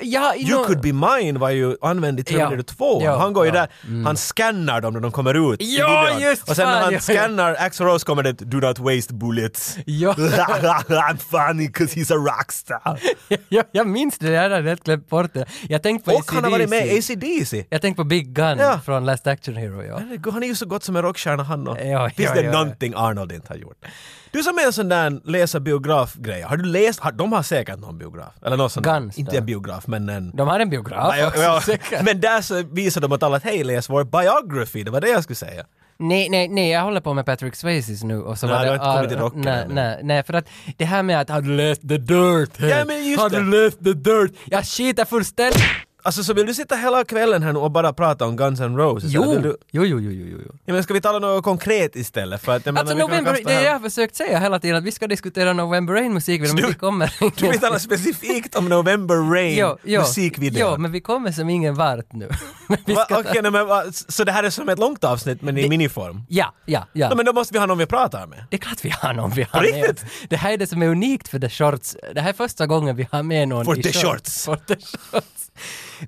Speaker 2: Ja, i
Speaker 3: You
Speaker 2: nå-
Speaker 3: could be mine var ju använd i Terminator
Speaker 2: Ja.
Speaker 3: 2.
Speaker 2: Ja.
Speaker 3: Han går ju
Speaker 2: Ja. Mm.
Speaker 3: där, han scannar dem när de kommer ut i
Speaker 2: Ja,
Speaker 3: videon.
Speaker 2: just
Speaker 3: Och sen
Speaker 2: fan,
Speaker 3: när han
Speaker 2: ja, ja.
Speaker 3: scannar Axl Rose kommer det “Do not waste bullets”.
Speaker 2: Ja.
Speaker 3: I'm funny 'cause he's a rockstar.
Speaker 2: jag, jag minns det, jag hade helt glömt bort det. Jag tänkte på
Speaker 3: Och han har varit med i ACDC.
Speaker 2: Jag tänkte på Big Gun
Speaker 3: Ja.
Speaker 2: från Last Action Hero, ja.
Speaker 3: Herregud, Han är ju så gott som en rockstjärna han och.
Speaker 2: Ja,
Speaker 3: Finns
Speaker 2: ja,
Speaker 3: det
Speaker 2: ja, ja.
Speaker 3: någonting Arnold inte har gjort? Du som är en sån där läsa biografgrej, har du läst? Har, de har säkert någon biograf. Eller någon sån
Speaker 2: Guns
Speaker 3: Inte
Speaker 2: då.
Speaker 3: en biograf men en...
Speaker 2: De har en biograf
Speaker 3: Ja,
Speaker 2: också,
Speaker 3: ja,
Speaker 2: säkert.
Speaker 3: men där så visar de åt alla att hej läs vår biography, det var det jag skulle säga.
Speaker 2: Nej, nej, nej, jag håller på med Patrick Swayzes nu och så
Speaker 3: Nej,
Speaker 2: var
Speaker 3: du
Speaker 2: det...
Speaker 3: har inte kommit till rocken
Speaker 2: nej,
Speaker 3: ännu.
Speaker 2: nej, nej, för att det här med att har du läst The Dirt? Hey?
Speaker 3: Ja, men just
Speaker 2: har
Speaker 3: det.
Speaker 2: du läst The Dirt? Jag skiter fullständigt!
Speaker 3: Alltså så vill du sitta hela kvällen här nu och bara prata om Guns N' Roses?
Speaker 2: Jo.
Speaker 3: eller Vill du,
Speaker 2: jo, jo, jo, jo, jo, jo.
Speaker 3: ja, men ska vi tala något konkret istället? För att, jag
Speaker 2: Alltså
Speaker 3: menar, vi kan
Speaker 2: november,
Speaker 3: kasta
Speaker 2: det
Speaker 3: här-
Speaker 2: jag har försökt säga hela tiden att vi ska diskutera November Rain musikvideon, men
Speaker 3: du-
Speaker 2: vi kommer
Speaker 3: Du vill tala specifikt om November Rain
Speaker 2: Jo, jo.
Speaker 3: musikvideon.
Speaker 2: Jo, men vi kommer som ingen vart nu. Men vi
Speaker 3: Va,
Speaker 2: ska ta-
Speaker 3: okej, nej, men, va, så det här är som ett långt avsnitt men i miniform?
Speaker 2: Ja, ja, ja.
Speaker 3: Ja, men då måste vi ha någon vi pratar med.
Speaker 2: Det är klart vi har någon vi har med
Speaker 3: riktigt?
Speaker 2: oss. Det här är det som är unikt för The Shorts. Det här är första gången vi har med någon
Speaker 3: For
Speaker 2: i
Speaker 3: the
Speaker 2: shorts.
Speaker 3: shorts.
Speaker 2: For the shorts.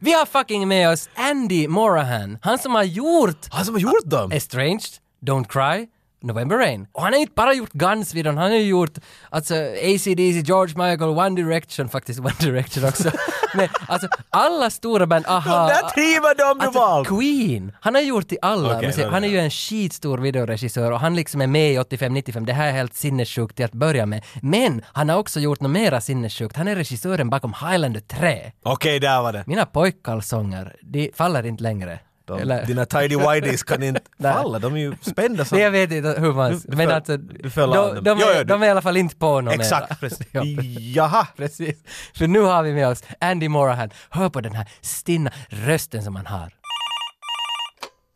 Speaker 2: Vi har fucking med oss Andy Morahan. Han som har gjort
Speaker 3: Han som har gjort
Speaker 2: Alltså,
Speaker 3: dem!
Speaker 2: Estranged, Don't Cry, November Rain. Och han har inte bara gjort Guns-videon, han har ju gjort alltså AC/DC, George Michael, One Direction, faktiskt One Direction också. Men alltså alla stora band, aha.
Speaker 3: Där trivar de du valt!
Speaker 2: Alltså Queen, han har gjort i alla
Speaker 3: Okej,
Speaker 2: musik.
Speaker 3: ja,
Speaker 2: Han är
Speaker 3: ja.
Speaker 2: ju en skitstor videoregissör och han liksom är med i 85-95. Det här är helt sinnessjukt till att börja med. Men han har också gjort något mera sinnessjukt. Han är regissören bakom Highlander 3.
Speaker 3: Okej, där var det.
Speaker 2: Mina pojkkalsonger, de faller inte längre.
Speaker 3: De,
Speaker 2: Eller,
Speaker 3: Dina tidy whities kan inte
Speaker 2: Nej.
Speaker 3: falla, de är ju spända som...
Speaker 2: det jag vet inte hur man...
Speaker 3: Du- du
Speaker 2: men
Speaker 3: föll-
Speaker 2: alltså,
Speaker 3: du föll
Speaker 2: de,
Speaker 3: av dem.
Speaker 2: de, är-
Speaker 3: Ja, ja, du-
Speaker 2: de är i alla fall inte på någon mera.
Speaker 3: Exakt, precis.
Speaker 2: Ja,
Speaker 3: Jaha!
Speaker 2: precis. För nu har vi med oss Andy Morahan. Hör på den här stinna rösten som han har.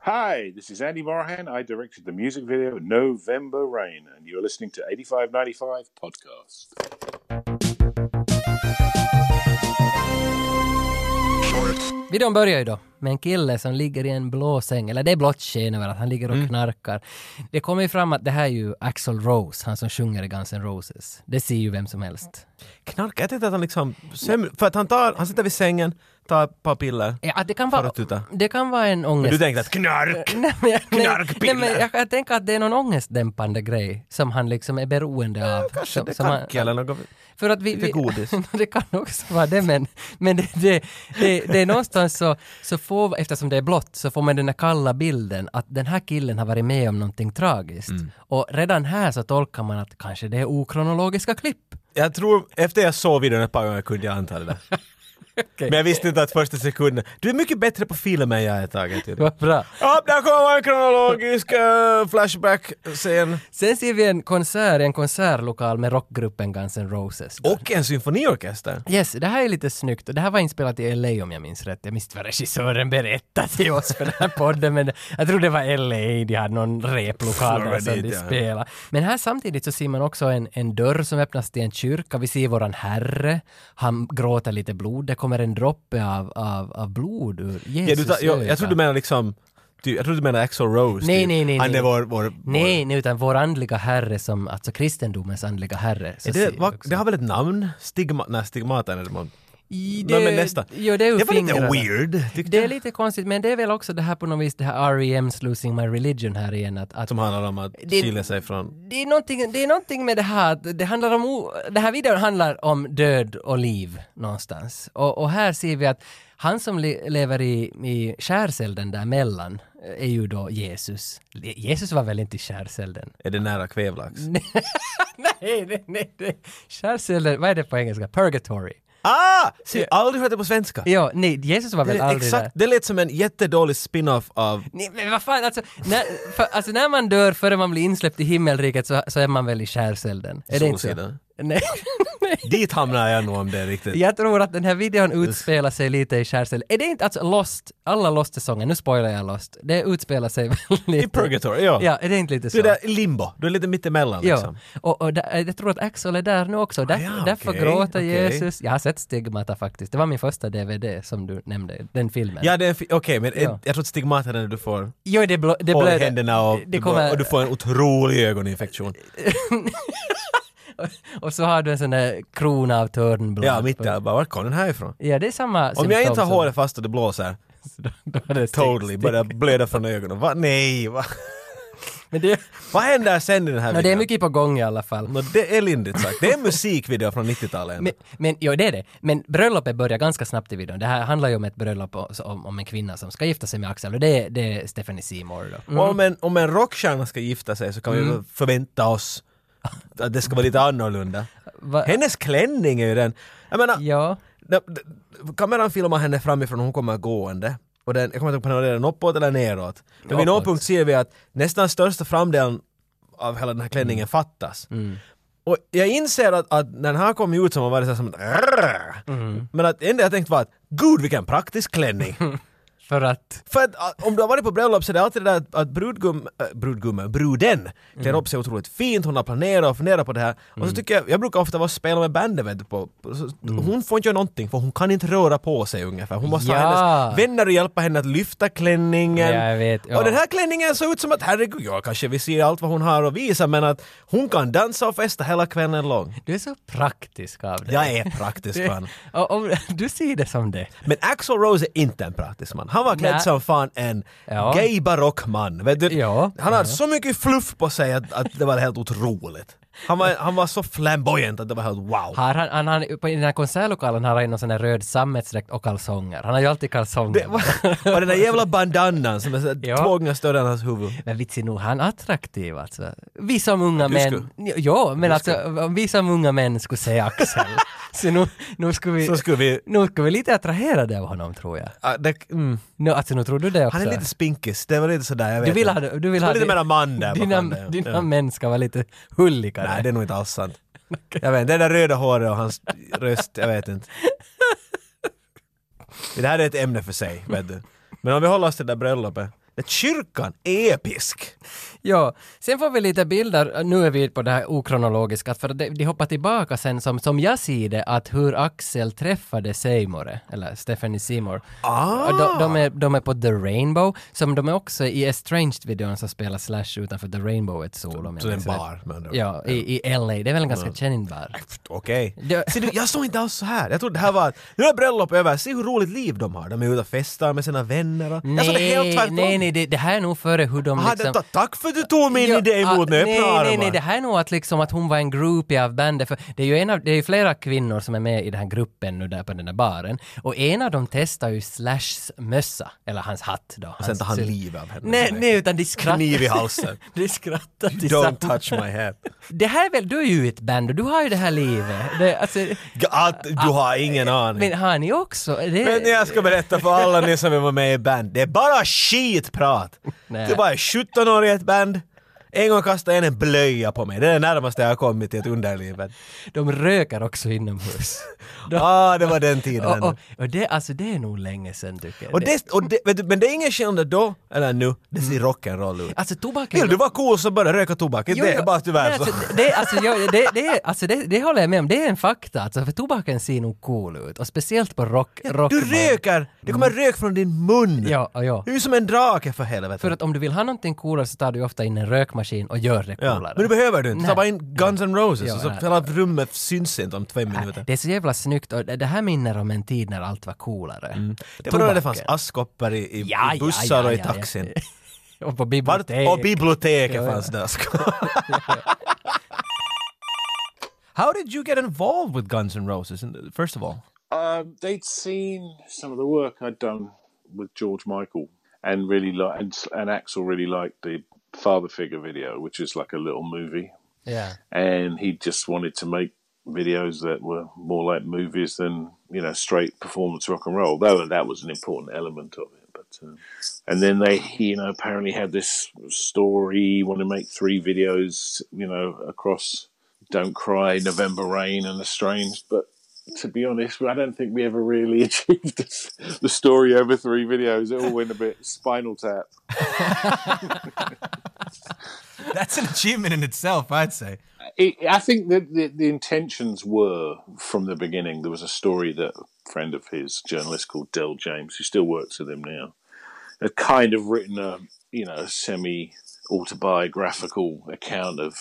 Speaker 4: Hi, this is Andy Morahan. I directed the music video November Rain, and you're listening to 8595 Podcast.
Speaker 2: Videon börjar ju då med en kille som ligger i en blå säng, eller det är blått sken över att han ligger
Speaker 3: Mm.
Speaker 2: och knarkar. Det kommer ju fram att det här är ju Axl Rose, han som sjunger i Guns N' Roses. Det ser ju vem som helst.
Speaker 3: Knarka, jag tänkte att han liksom... Sömn, för att han tar, han sitter vid sängen, tar ett par piller.
Speaker 2: Ja, att det, kan
Speaker 3: För
Speaker 2: vara,
Speaker 3: att tuta.
Speaker 2: det kan vara en ångest...
Speaker 3: Du tänkte att knark!
Speaker 2: Nej, men jag, nej, nej,
Speaker 3: knarkpiller.
Speaker 2: men jag, jag tänker att det är någon ångestdämpande grej som han liksom är beroende av.
Speaker 3: Kanske
Speaker 2: som,
Speaker 3: det är
Speaker 2: som han-
Speaker 3: knark eller något.
Speaker 2: För att vi,
Speaker 3: Lite
Speaker 2: vi,
Speaker 3: godis.
Speaker 2: det kan också vara det, men, men det, det, det, det är någonstans så, så får, eftersom det är blått, så får man den här kalla bilden att den här killen har varit med om någonting tragiskt. Och redan här så tolkar man att kanske det är okronologiska klipp.
Speaker 3: Jag tror, efter jag såg videon ett par gånger kunde jag anta det där. Men jag visste inte att första sekunden... Du är mycket bättre på film än jag är taget till.
Speaker 2: Vad bra.
Speaker 3: Ja, där kommer en kronologisk eh, flashback-scen.
Speaker 2: Sen ser vi en konsert i en konsertlokal med rockgruppen Guns N' Roses.
Speaker 3: Och en symfoniorkester.
Speaker 2: Yes, det här är lite snyggt och det här var inspelat i LA om jag minns rätt. Jag minns inte vad regissören berättade till oss för den här podden men jag tror det var LA, de hade någon replokal där
Speaker 3: Florida,
Speaker 2: som de
Speaker 3: ja.
Speaker 2: spelade. Men här samtidigt så ser man också en, en dörr som öppnas till en kyrka. Vi ser våran herre, han gråter lite blod, det kommer en droppe av, av, av blod ur Jesus
Speaker 3: Ja, du, ta- jag,
Speaker 2: öga.
Speaker 3: jag tror du menar liksom... Du, jag tror du menar Axl Rose.
Speaker 2: Nej,
Speaker 3: typ.
Speaker 2: nej, nej,
Speaker 3: Han
Speaker 2: nej.
Speaker 3: är vår... vår, vår
Speaker 2: Nej, nej, utan vår andliga herre som, alltså kristendomens andliga herre. så
Speaker 3: Är
Speaker 2: ser
Speaker 3: det,
Speaker 2: vi
Speaker 3: vad-
Speaker 2: också.
Speaker 3: det har väl ett namn? Stigma... Nej, stigmatan är det man...
Speaker 2: I
Speaker 3: Nej, men nästa.
Speaker 2: Jo, det är ur
Speaker 3: Det var lite
Speaker 2: fingrarna.
Speaker 3: weird, tyckte
Speaker 2: Det är
Speaker 3: jag.
Speaker 2: lite konstigt, men det är väl också det här på något vis, det här R.E.M.'s Losing My Religion här igen, att, att
Speaker 3: Som handlar om att
Speaker 2: Det-
Speaker 3: skilja sig från...
Speaker 2: det, är någonting, det är någonting med det här, att det handlar om, o- det här videon handlar om död och liv någonstans. Och, och här ser vi att han som le, lever i, i skärselden däremellan eh, är ju då Jesus. Je- Jesus var väl inte i skärselden?
Speaker 3: Är det nära kvävlax?
Speaker 2: nej, nej, nej, nej. Skärselden, vad är det på engelska? Purgatory.
Speaker 3: Ah! Se, jag har aldrig hört det på svenska.
Speaker 2: Ja, nej, Jesus var
Speaker 3: Det,
Speaker 2: väl
Speaker 3: lät
Speaker 2: aldrig där.
Speaker 3: exakt, det lät som en jättedålig spin-off av...
Speaker 2: Nej, men vad fan, alltså när, för, alltså när man dör före man blir insläppt i himmelriket så, så är man väl i skärselden? Är det inte så?
Speaker 3: Solsidan.
Speaker 2: Nej.
Speaker 3: Dit hamnar jag nog om det är riktigt.
Speaker 2: Jag tror att den här videon utspelar sig lite i skärselden. Är det inte, alltså Lost, alla Lost-säsonger, nu spoilar jag Lost, det utspelar sig väl lite...
Speaker 3: I Purgatory, ja.
Speaker 2: Ja, är det inte lite så?
Speaker 3: Du är där i limbo, du är lite mittemellan
Speaker 2: Ja,
Speaker 3: liksom. Ah,
Speaker 2: och, och där, jag tror att Axel är där nu också. Där,
Speaker 3: ja,
Speaker 2: därför
Speaker 3: okej,
Speaker 2: gråter
Speaker 3: okej.
Speaker 2: Jesus. Jag har sett Stigmata faktiskt. Det var min första DVD som du nämnde, den filmen.
Speaker 3: Ja, det är en fi- okej, men en-
Speaker 2: Ja.
Speaker 3: jag tror att stigmat är när du får
Speaker 2: Jo, det, blå, det
Speaker 3: hål i
Speaker 2: blöder.
Speaker 3: händerna och,
Speaker 2: Det
Speaker 3: du
Speaker 2: kommer-
Speaker 3: och du får en otrolig ögoninfektion.
Speaker 2: Och- Och så har du en sån där krona av törnblad.
Speaker 3: Ja, mitt där bara, vart kom den här ifrån?
Speaker 2: Ja, det är samma
Speaker 3: Om jag inte har
Speaker 2: symptom som-
Speaker 3: håret fast och det blåser,
Speaker 2: då- då är det stick-
Speaker 3: totally, börjar blöda från ögonen. Va? Nej, va?
Speaker 2: Men det,
Speaker 3: Vad händer sen i den
Speaker 2: no,
Speaker 3: här
Speaker 2: det är
Speaker 3: videon?
Speaker 2: mycket på gång i alla fall.
Speaker 3: Nå, det är lindrigt sagt. Det är en musikvideo från 90-talet. ändå.
Speaker 2: Men, men jo, det är det. Men bröllopet börjar ganska snabbt i videon. Det här handlar ju om ett bröllop och- så- om, om en kvinna som ska gifta sig med Axel och det, är- det är Stephanie Seymour då.
Speaker 3: Om, en, om en rockstjärna ska gifta sig så kan
Speaker 2: Mm.
Speaker 3: vi väl förvänta oss att det ska vara lite annorlunda.
Speaker 2: Va-
Speaker 3: Hennes klänning är ju den... Jag menar,
Speaker 2: Ja.
Speaker 3: d- d- kameran filmar henne framifrån och hon kommer gående. Och den, jag kommer inte ihåg om den är uppåt eller neråt. Men vid någon
Speaker 2: Uppåt.
Speaker 3: punkt ser vi att nästan största framdelen av hela den här klänningen fattas. Och jag inser att, att när den här kom ut så var det så här som ett "Rrrr". Men att det enda jag tänkte var att gud vilken praktisk klänning!
Speaker 2: För att...
Speaker 3: För att ah, om du har varit på bröllop så är det alltid det där att, att brudgum, äh, brudgummen, bruden klär
Speaker 2: Mm.
Speaker 3: upp sig otroligt fint, hon har planerat och funderat på det här. Och så tycker jag, jag brukar ofta vara och spela med bandet vet du, på, på, så,
Speaker 2: Mm.
Speaker 3: hon får inte göra någonting för hon kan inte röra på sig ungefär. Hon måste ha
Speaker 2: Ja.
Speaker 3: hennes vänner och hjälpa henne att lyfta klänningen.
Speaker 2: Ja, jag vet, ja.
Speaker 3: Och den här klänningen såg ut som att herregud, ja kanske vi ser allt vad hon har att visa men att hon kan dansa och festa hela kvällen lång.
Speaker 2: Du är så praktisk av dig.
Speaker 3: Jag är praktisk man.
Speaker 2: Och om, du ser det som det.
Speaker 3: Men Axl Rose är inte en praktisk man. Han var klädd
Speaker 2: Nä.
Speaker 3: som fan en
Speaker 2: Ja.
Speaker 3: gay barockman. Vet du?
Speaker 2: Ja.
Speaker 3: Han hade så mycket fluff på sig att, att det var helt otroligt. Han var, han var så flamboyant att det var helt wow.
Speaker 2: Har han, han, han, på, I den här konsertlokalen har han någon sån här röd sammetsdräkt och kalsonger. Han har ju alltid kalsonger.
Speaker 3: Det var, och den där jävla bandanan som är så
Speaker 2: Ja.
Speaker 3: två gånger större än hans huvud.
Speaker 2: Men vitsi nog, han är attraktiv alltså. Vi som unga
Speaker 3: du
Speaker 2: män... Jo, men alltså om vi som unga män skulle se Axel, så nu, nu skulle vi...
Speaker 3: Så skulle vi...
Speaker 2: Nu skulle vi lite attraherade av honom tror jag.
Speaker 3: ah, det, mm.
Speaker 2: Nu, alltså nu tror du det också.
Speaker 3: Han är lite spinkis, det var lite sådär, jag vet
Speaker 2: du vill ha...
Speaker 3: inte.
Speaker 2: Du vill ha
Speaker 3: lite
Speaker 2: din-
Speaker 3: mera man där
Speaker 2: Dina,
Speaker 3: bakom det, ja.
Speaker 2: dina
Speaker 3: Ja.
Speaker 2: män ska vara lite hulligare.
Speaker 3: Nej, det är nog inte alls sant. Jag vet inte, det där röda håret och hans röst, jag vet inte. Det här är ett ämne för sig, vet du. Men om vi håller oss till det där bröllopet. Att kyrkan är episk!
Speaker 2: Ja, sen får vi lite bilder, nu är vi på det här okronologiska, för de, de hoppar tillbaka sen som, som jag ser det, att hur Axel träffade Seymour, eller Stephanie Seymour.
Speaker 3: Ah.
Speaker 2: Och De, de, är, de är på The Rainbow, som de är också i Estranged-videon som spelar Slash utanför The Rainbow ett solo. om jag
Speaker 3: Så det är en
Speaker 2: minns rätt.
Speaker 3: bar, med andra ord.
Speaker 2: Ja, i, i LA. Det är väl en ganska känd bar.
Speaker 3: Okej.
Speaker 2: Det-
Speaker 3: Ser du, jag såg inte alls så här. Jag trodde det här var att nu är bröllop över, se hur roligt liv de har. De är ute och festar med sina vänner och... jag såg Alltså, det helt
Speaker 2: Nej,
Speaker 3: tvärtom.
Speaker 2: nej, nej, det, det här är nog före hur de
Speaker 3: Aha,
Speaker 2: liksom...
Speaker 3: detta, tack för att du tog min idé emot med
Speaker 2: ah,
Speaker 3: öppna
Speaker 2: nej,
Speaker 3: armar.
Speaker 2: nej, nej, det här är nog att, liksom, att hon var en groupie av bandet. För det är ju en av, det är ju flera kvinnor som är med i den här gruppen nu där på den där baren. Och en av dem testar ju Slashs mössa, eller hans hatt då. Hans,
Speaker 3: Sen tar han livet av henne.
Speaker 2: Alltså, Nej, liksom. nej, utan de skrattar.
Speaker 3: Kniv i halsen.
Speaker 2: De skrattar
Speaker 3: Don't
Speaker 2: tillsammans.
Speaker 3: touch my head.
Speaker 2: Det här är väl, du är ju i ett band och du har ju det här livet. Det, alltså,
Speaker 3: Att, du har ingen aning.
Speaker 2: men har ni också? Det,
Speaker 3: Men jag ska berätta för alla ni som vill vara med i band, det är bara skitprat!
Speaker 2: Nej.
Speaker 3: Det var en 17 år i ett band, en gång kastade en en blöja på mig, det är det närmaste jag har kommit till ett underlivet.
Speaker 2: De röker också inomhus.
Speaker 3: Ah, det var den tiden.
Speaker 2: och, och, och det, alltså, det är nog länge sedan tycker jag.
Speaker 3: Och det, och det, vet du, men det är ingen skillnad då eller nu, det ser rock'n'roll ut.
Speaker 2: alltså tobaken...
Speaker 3: Vill du vara cool så börja röka tobak,
Speaker 2: Jo,
Speaker 3: det är
Speaker 2: jo.
Speaker 3: bara tyvärr
Speaker 2: Nej,
Speaker 3: så.
Speaker 2: Alltså, det, alltså, jag, det, det, är- alltså, det, det håller jag med om, det är en fakta. Alltså, för tobaken ser nog cool ut och speciellt på rock, rock
Speaker 3: Du röker! Det kommer rök från din mun!
Speaker 2: Mm. Ja, ja.
Speaker 3: Du är ju som en drake för helvete.
Speaker 2: För att om du vill ha någonting coolare så tar du ju ofta in en rökmaskin och gör det
Speaker 3: ja.
Speaker 2: coolare.
Speaker 3: Men det behöver du inte, ta
Speaker 2: Nej.
Speaker 3: bara in Guns N' Roses
Speaker 2: Ja,
Speaker 3: och så
Speaker 2: nej.
Speaker 3: hela rummet syns inte om två minuter.
Speaker 2: Det är så jävla snyggt och det det här minner om en tid när allt var coolare.
Speaker 3: Mm. Det var då det
Speaker 2: Tobaken.
Speaker 3: fanns askkoppar i, i,
Speaker 2: Ja,
Speaker 3: i
Speaker 2: ja,
Speaker 3: bussar
Speaker 2: ja,
Speaker 3: och i
Speaker 2: ja,
Speaker 3: taxin.
Speaker 2: ja. Och på
Speaker 3: Vart,
Speaker 2: biblioteket.
Speaker 3: och biblioteket
Speaker 2: Ja, ja.
Speaker 3: fanns det askkoppar. How did you get involved with Guns N' Roses, in- first of all?
Speaker 4: Um, they'd seen some of the work I'd done with George Michael, and really like and, and Axel really liked the father figure video, which is like a little movie,
Speaker 2: Ja.
Speaker 4: and he just wanted to make videos that were more like movies than you know straight performance rock and roll. Though that was an important element of it. But uh, and then they, he, you know, apparently had this story. Want to make three videos, you know, across "Don't Cry," "November Rain," and "Estranged." But to be honest, I don't think we ever really achieved this, the story over three videos. It all went a bit Spinal Tap.
Speaker 3: That's an achievement in itself, I'd say.
Speaker 4: it, I think that the, the intentions were from the beginning. There was a story that a friend of his, journalist called Del James, who still works with him now, had kind of written a you know semi autobiographical account of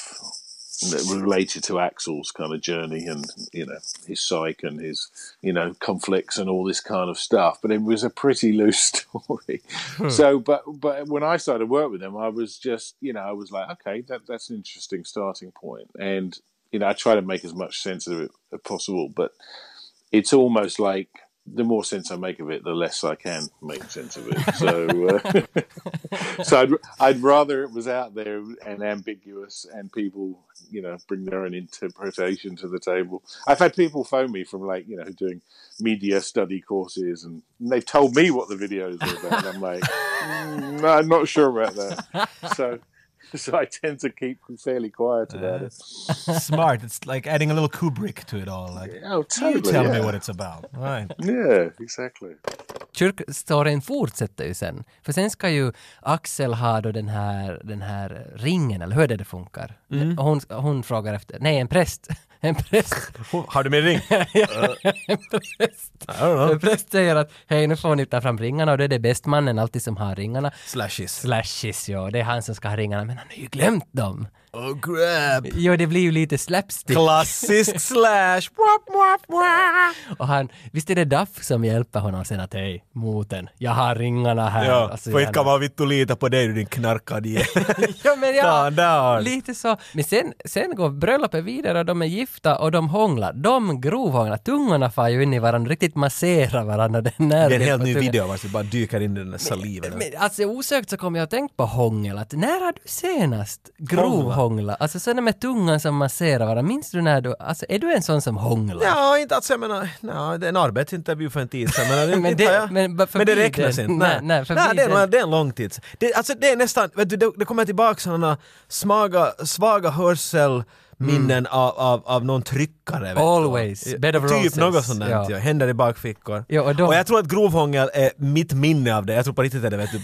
Speaker 4: related to Axel's kind of journey and you know his psyche and his you know conflicts and all this kind of stuff. But it was a pretty loose story. So, but but when I started work with him, I was just you know I was like, okay, that that's an interesting starting point, and you know I try to make as much sense of it as possible, but it's almost like the more sense I make of it, the less I can make sense of it. So, uh, so I'd, I'd rather it was out there and ambiguous, and people, you know, bring their own interpretation to the table. I've had people phone me from like, you know, doing media study courses, and, and they've told me what the videos are about. And I'm like, mm, no, I'm not sure about that. So, so I tend to keep fairly quiet about it.
Speaker 3: Smart. It's like adding a little Kubrick to it all. Like,
Speaker 4: Oh,
Speaker 3: you
Speaker 4: totally.
Speaker 3: tell
Speaker 4: yeah.
Speaker 3: me what it's about. Right.
Speaker 4: yeah, exactly.
Speaker 2: Kyrkstoryn fortsätter ju sen. För sen ska ju Axel ha då den här, den här ringen, eller hur det, det funkar. Och hon, hon frågar efter, nej en präst, en präst,
Speaker 3: Har du min ring? Uh,
Speaker 2: en präst.
Speaker 3: I don't
Speaker 2: En
Speaker 3: know.
Speaker 2: präst säger att hej nu får ni ta fram ringarna och det är det bästmannen alltid som har ringarna.
Speaker 3: Slashes.
Speaker 2: Slashes ja, det är han som ska ha ringarna men han har ju glömt dem.
Speaker 3: Oh, grab.
Speaker 2: Jo det blir ju lite slapstick.
Speaker 3: Klassisk slash. Wap, wap, wap.
Speaker 2: Och han, visst är det Duff som hjälper honom sen att hej, moten, jag har ringarna här. Alltså,
Speaker 3: Ja,
Speaker 2: Och så
Speaker 3: för
Speaker 2: gör
Speaker 3: inte
Speaker 2: han-
Speaker 3: kan man vittu lita på dig du din knarkad jävel.
Speaker 2: ja, men
Speaker 3: Ta
Speaker 2: ja,
Speaker 3: han down.
Speaker 2: lite så. Men sen, sen går bröllopet vidare och de är gifta och de hånglar. De grovhånglar. Tungorna far ju in i varandra, riktigt masserar varandra. Den
Speaker 3: Det
Speaker 2: här
Speaker 3: är en helt ny video vars det bara dyker in i den där saliven.
Speaker 2: Men alltså osökt så kommer jag att tänka på hångel, att när har du senast grovhångla? Alltså sådana med tungan som masserar varandra, minns du när du, alltså är du en sån som hånglar?
Speaker 3: Ja, inte att jag menar, no, det är en arbetsintervju för en tid sedan. Men, det-
Speaker 2: Men
Speaker 3: inte
Speaker 2: det-
Speaker 3: har jag-
Speaker 2: men bara förbi
Speaker 3: men det räknas
Speaker 2: den.
Speaker 3: inte.
Speaker 2: Nej,
Speaker 3: Nej,
Speaker 2: nej,
Speaker 3: nej,
Speaker 2: förbi
Speaker 3: det, är,
Speaker 2: den.
Speaker 3: en- det är en lång tid. Det, alltså, det är nästan, vet du, det, det kommer tillbaka sådana smaga, svaga hörselminnen av, av, av någon tryckare. vet du.
Speaker 2: Always. Bed of roses.
Speaker 3: Typ något sånt där,
Speaker 2: Ja.
Speaker 3: ja. händer i bakfickor.
Speaker 2: Ja, och då-
Speaker 3: jag tror att grovhångel är mitt minne av det, jag tror på riktigt att det vet du,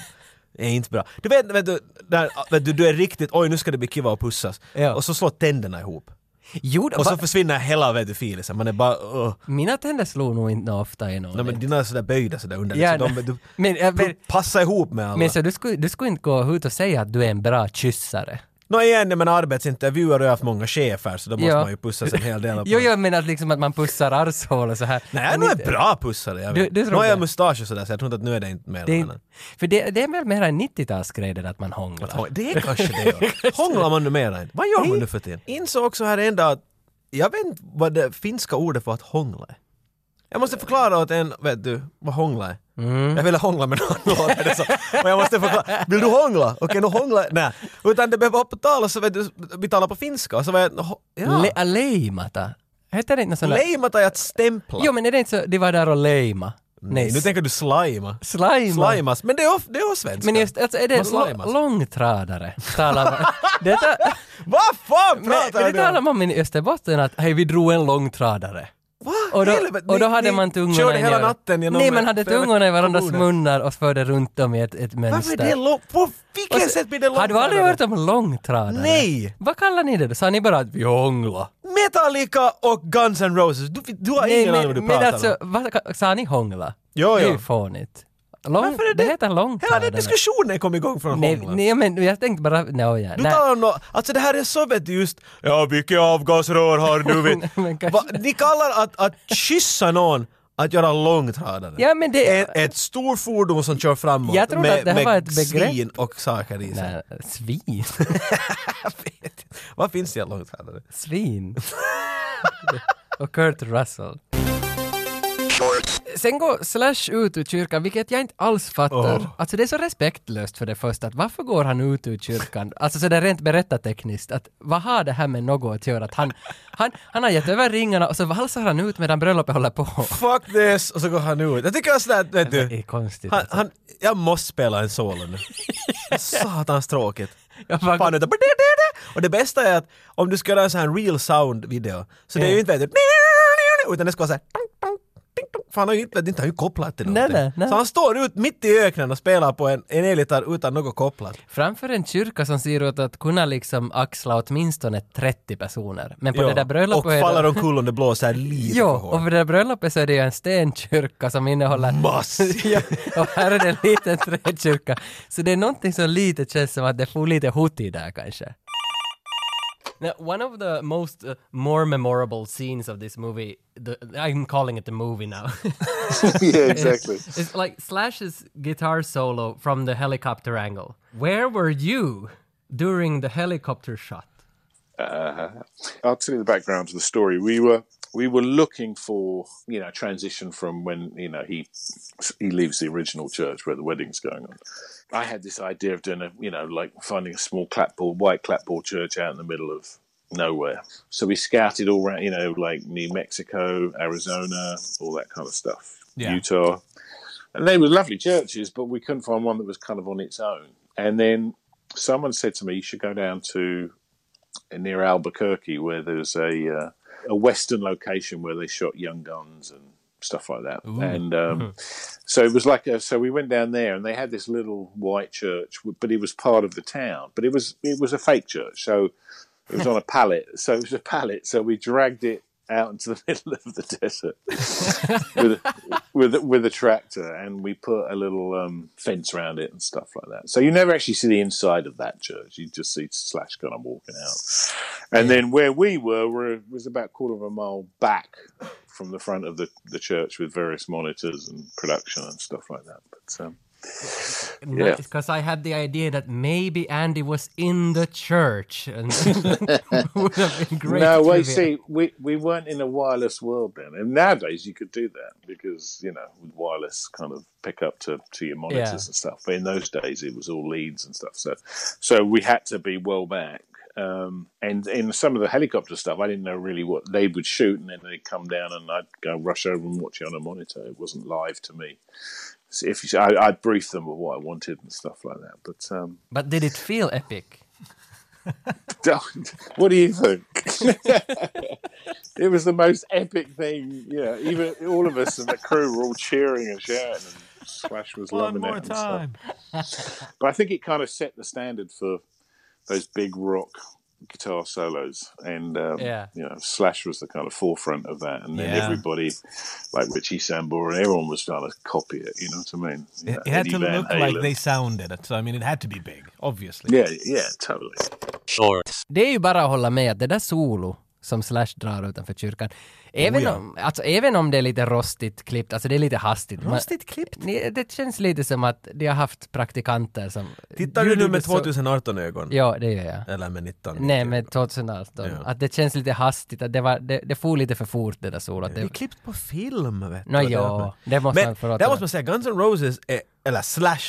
Speaker 3: är inte bra. Du vet, vet, du, där, vet du, du är riktigt, oj nu ska det bli kiva och pussas.
Speaker 2: Ja.
Speaker 3: Och så slår tänderna ihop.
Speaker 2: Jo, då,
Speaker 3: Och så
Speaker 2: va-
Speaker 3: försvinner hela vet du filisen, man är bara "Ugh."
Speaker 2: mina tänder slog nog inte ofta i någon.
Speaker 3: Nej men dina är sådär böjda sådär under.
Speaker 2: Ja,
Speaker 3: Ja, så de,
Speaker 2: nej.
Speaker 3: du,
Speaker 2: Men, ja, men-
Speaker 3: pro- passa ihop med alla.
Speaker 2: Men så du skulle, du skulle inte gå ut och säga att du är en bra kyssare?
Speaker 3: Nå igen, men arbetsintervjuer har jag haft många chefer så då måste
Speaker 2: Ja.
Speaker 3: man ju pussas en hel del. av-
Speaker 2: Jo, jag menar liksom att man pussar arshål och så här.
Speaker 3: Nej, jag är
Speaker 2: Men
Speaker 3: nog en
Speaker 2: inte-
Speaker 3: bra pussare. Jag
Speaker 2: Du-
Speaker 3: vet.
Speaker 2: du tror
Speaker 3: nu har jag
Speaker 2: det?
Speaker 3: mustasch och sådär så jag tror inte att nu är det inte mer.
Speaker 2: Det
Speaker 3: Det,
Speaker 2: är, för det, det är väl mer en 90-talsgrej det där att man hånglar?
Speaker 3: det är kanske det. ja. Hånglar man numera inte? Vad gör man nu för tiden? Insåg också här en dag att jag vet inte vad det finska ordet för att hångla är. Jag måste förklara åt en, vet du, vad hångla är. Jag ville hångla med någon, låter det så. Och jag måste förklara, vill du hångla? Okej, nu hångla, nej. Utan det behöver på tal och så vet du, vi talar på finska och så var jag, nå, ja.
Speaker 2: Le, leimata? Heter det inte något sånt där?
Speaker 3: Leimata är att stämpla.
Speaker 2: Jo, men är det inte så, de var där och leima? Nej,
Speaker 3: Nu tänker du slima.
Speaker 2: slime.
Speaker 3: Slimas, men det är, of- det är svenska.
Speaker 2: Men just, alltså är det
Speaker 3: Man slimas.
Speaker 2: lo- långtradare? Talar man. Detta,
Speaker 3: Vad fan
Speaker 2: men,
Speaker 3: pratar
Speaker 2: men
Speaker 3: du
Speaker 2: det
Speaker 3: om?
Speaker 2: talar man i Österbotten att hej, vi drog en långtradare.
Speaker 3: Va?
Speaker 2: Och då,
Speaker 3: Helvete,
Speaker 2: och då
Speaker 3: ni-
Speaker 2: hade
Speaker 3: ni
Speaker 2: man tungorna
Speaker 3: körde
Speaker 2: i
Speaker 3: hela
Speaker 2: varandra.
Speaker 3: natten genom...
Speaker 2: Nej, man hade
Speaker 3: för-
Speaker 2: tungorna i varandras
Speaker 3: kommunen.
Speaker 2: munnar och förde runt dem i ett, ett
Speaker 3: Varför är
Speaker 2: mönster.
Speaker 3: det långt? På
Speaker 2: Och
Speaker 3: vilket
Speaker 2: så-
Speaker 3: sätt blir det långt?
Speaker 2: Har du aldrig hört om långtradare?
Speaker 3: Nej!
Speaker 2: Vad kallar ni det då? Sa ni bara att vi hångla?
Speaker 3: Metallica och Guns N' Roses. Du, du har ingen aning
Speaker 2: men,
Speaker 3: vad du
Speaker 2: men
Speaker 3: pratar
Speaker 2: alltså,
Speaker 3: om.
Speaker 2: vad, ka- sa ni hångla?
Speaker 3: Jo,
Speaker 2: Det är
Speaker 3: jo.
Speaker 2: ju fånigt. Lång,
Speaker 3: Varför är
Speaker 2: det?
Speaker 3: det-
Speaker 2: heter
Speaker 3: Hela
Speaker 2: långtradare.
Speaker 3: den diskussionen kom igång från
Speaker 2: nej,
Speaker 3: hångla.
Speaker 2: nej, men jag tänkte bara, no, ja.
Speaker 3: Du
Speaker 2: nej.
Speaker 3: talar om nå- alltså det här är så vet du just, ja vilket avgasrör har du
Speaker 2: Men
Speaker 3: vet.
Speaker 2: kanske-
Speaker 3: Va, ni kallar att, att kyssa någon att göra långtradare.
Speaker 2: Ja, men det-
Speaker 3: ett, ett stort fordon som kör framåt
Speaker 2: Jag trodde
Speaker 3: med,
Speaker 2: att det här
Speaker 3: med
Speaker 2: var ett begrepp.
Speaker 3: svin och saker i sig.
Speaker 2: Nej, svin.
Speaker 3: Jag vet inte. Vad finns det i en långtradare?
Speaker 2: svin. Och Kurt Russell. Sen går Slash ut ur kyrkan, vilket jag inte alls fattar.
Speaker 3: Oh.
Speaker 2: Alltså det är så respektlöst för det första, att varför går han ut ur kyrkan? Alltså så där rent berättartekniskt, att vad har det här med något att göra? Att han, han, han har gett över ringarna och så valsar han ut medan bröllopet håller på.
Speaker 3: Fuck this! Och så går han ut. Jag tycker sådär, vet
Speaker 2: Det är
Speaker 3: du.
Speaker 2: konstigt.
Speaker 3: Han,
Speaker 2: alltså.
Speaker 3: han, jag måste spela en solo nu. Satans tråkigt.
Speaker 2: Jag bara-
Speaker 3: Fan, utan- Och det bästa är att om du ska göra en sån här real sound-video, så det är
Speaker 2: Mm.
Speaker 3: ju inte vet du, utan det ska vara såhär Fan, han har ju inte, inte han har ju kopplat till
Speaker 2: Nej,
Speaker 3: någonting.
Speaker 2: nej, nej.
Speaker 3: Så han står ut mitt i öknen och spelar på en, en elgitarr utan något kopplat.
Speaker 2: Framför en kyrka som ser ut att kunna liksom axla åtminstone 30 personer. Men på
Speaker 3: Ja.
Speaker 2: det där bröllopet...
Speaker 3: och
Speaker 2: är det-
Speaker 3: faller omkull om det blåser lite
Speaker 2: Jo,
Speaker 3: för hårt.
Speaker 2: och för det där bröllopet så är det ju en stenkyrka som innehåller...
Speaker 3: Mass!
Speaker 2: ja, och här är det en liten träkyrka. Så det är någonting som lite känns som att det får lite hot i där kanske. Now, one of the most uh, more memorable scenes of this movie, the, I'm calling it the movie now.
Speaker 4: yeah, exactly.
Speaker 2: it's like Slash's guitar solo from the helicopter angle. Where were you during the helicopter shot?
Speaker 4: Uh, I'll tell you the background to the story. We were we were looking for you know transition from when you know he he leaves the original church where the wedding's going on. I had this idea of doing a you know like finding a small clapboard white clapboard church out in the middle of nowhere. So we scouted all around you know like New Mexico, Arizona, all that kind of stuff,
Speaker 3: Yeah.
Speaker 4: Utah, and they were lovely churches, but we couldn't find one that was kind of on its own. And then someone said to me, "You should go down to near Albuquerque where there's a uh, a western location where they shot Young Guns and stuff like that. And um, so it was like a, so we went down there and they had this little white church, w- but it was part of the town, but it was it was a fake church, so it was on a pallet. So it was a pallet. So we dragged it out into the middle of the desert with a, with a, with a tractor, and we put a little um, fence around it and stuff like that. So you never actually see the inside of that church. You just see Slash kind of walking out. And then where we were, were was about a quarter of a mile back from the front of the, the church with various monitors and production and stuff like that. But um, Yeah.
Speaker 2: Because I had the idea that maybe Andy was in the church, and would have been great.
Speaker 4: no, well, you
Speaker 2: trivia.
Speaker 4: see, we, we weren't in a wireless world then, and nowadays you could do that because you know with wireless kind of pick up to, to your monitors
Speaker 2: Yeah.
Speaker 4: and stuff. But in those days, it was all leads and stuff. So so we had to be well back. Um, and in some of the helicopter stuff, I didn't know really what they would shoot, and then they'd come down, and I'd go rush over and watch it on a monitor. It wasn't live to me. So if you, I, I'd brief them with what I wanted and stuff like that. But um,
Speaker 2: But did it feel epic?
Speaker 4: don't. What do you think? it was the most epic thing. Yeah, even all of us in the crew were all cheering and shouting, and Slash was
Speaker 3: One
Speaker 4: loving it.
Speaker 3: more
Speaker 4: and stuff.
Speaker 3: time.
Speaker 4: But I think it kind of set the standard for those big rock guitar solos, and um,
Speaker 2: Yeah.
Speaker 4: you know, Slash was the kind of forefront of that, and then
Speaker 3: Yeah.
Speaker 4: everybody, like Richie Sambora, everyone was trying to copy it. You know what I mean?
Speaker 3: It,
Speaker 4: Yeah,
Speaker 3: it had
Speaker 4: Eddie
Speaker 3: to
Speaker 4: Van
Speaker 3: look like
Speaker 4: Halen.
Speaker 3: they sounded it. So, I mean, it had to be big, obviously.
Speaker 4: Yeah, yeah, totally.
Speaker 1: shorts,
Speaker 2: Det är ju bara att hålla med att det där solo som Slash drar utanför kyrkan, även,
Speaker 3: Oh ja.
Speaker 2: om, alltså, även om det är lite rostigt klippt, alltså det är lite hastigt. man-
Speaker 3: Rostigt klippt?
Speaker 2: Ni- Det känns lite som att de har haft praktikanter som...
Speaker 3: Tittar du nu
Speaker 2: gjorde
Speaker 3: med
Speaker 2: så-
Speaker 3: 2018-ögon?
Speaker 2: Ja, det gör jag.
Speaker 3: Eller med 19?
Speaker 2: Nej, men 2018.
Speaker 3: Ja.
Speaker 2: Att det känns lite hastigt, att det, var, det, det for lite för fort det där solot.
Speaker 3: Det är
Speaker 2: Det,
Speaker 3: klippt på film, vet du.
Speaker 2: Nå,
Speaker 3: Det är
Speaker 2: ja,
Speaker 3: därför.
Speaker 2: det måste man
Speaker 3: Men
Speaker 2: förlåta
Speaker 3: där
Speaker 2: mig.
Speaker 3: måste man säga, Guns N' Roses, är, eller Slash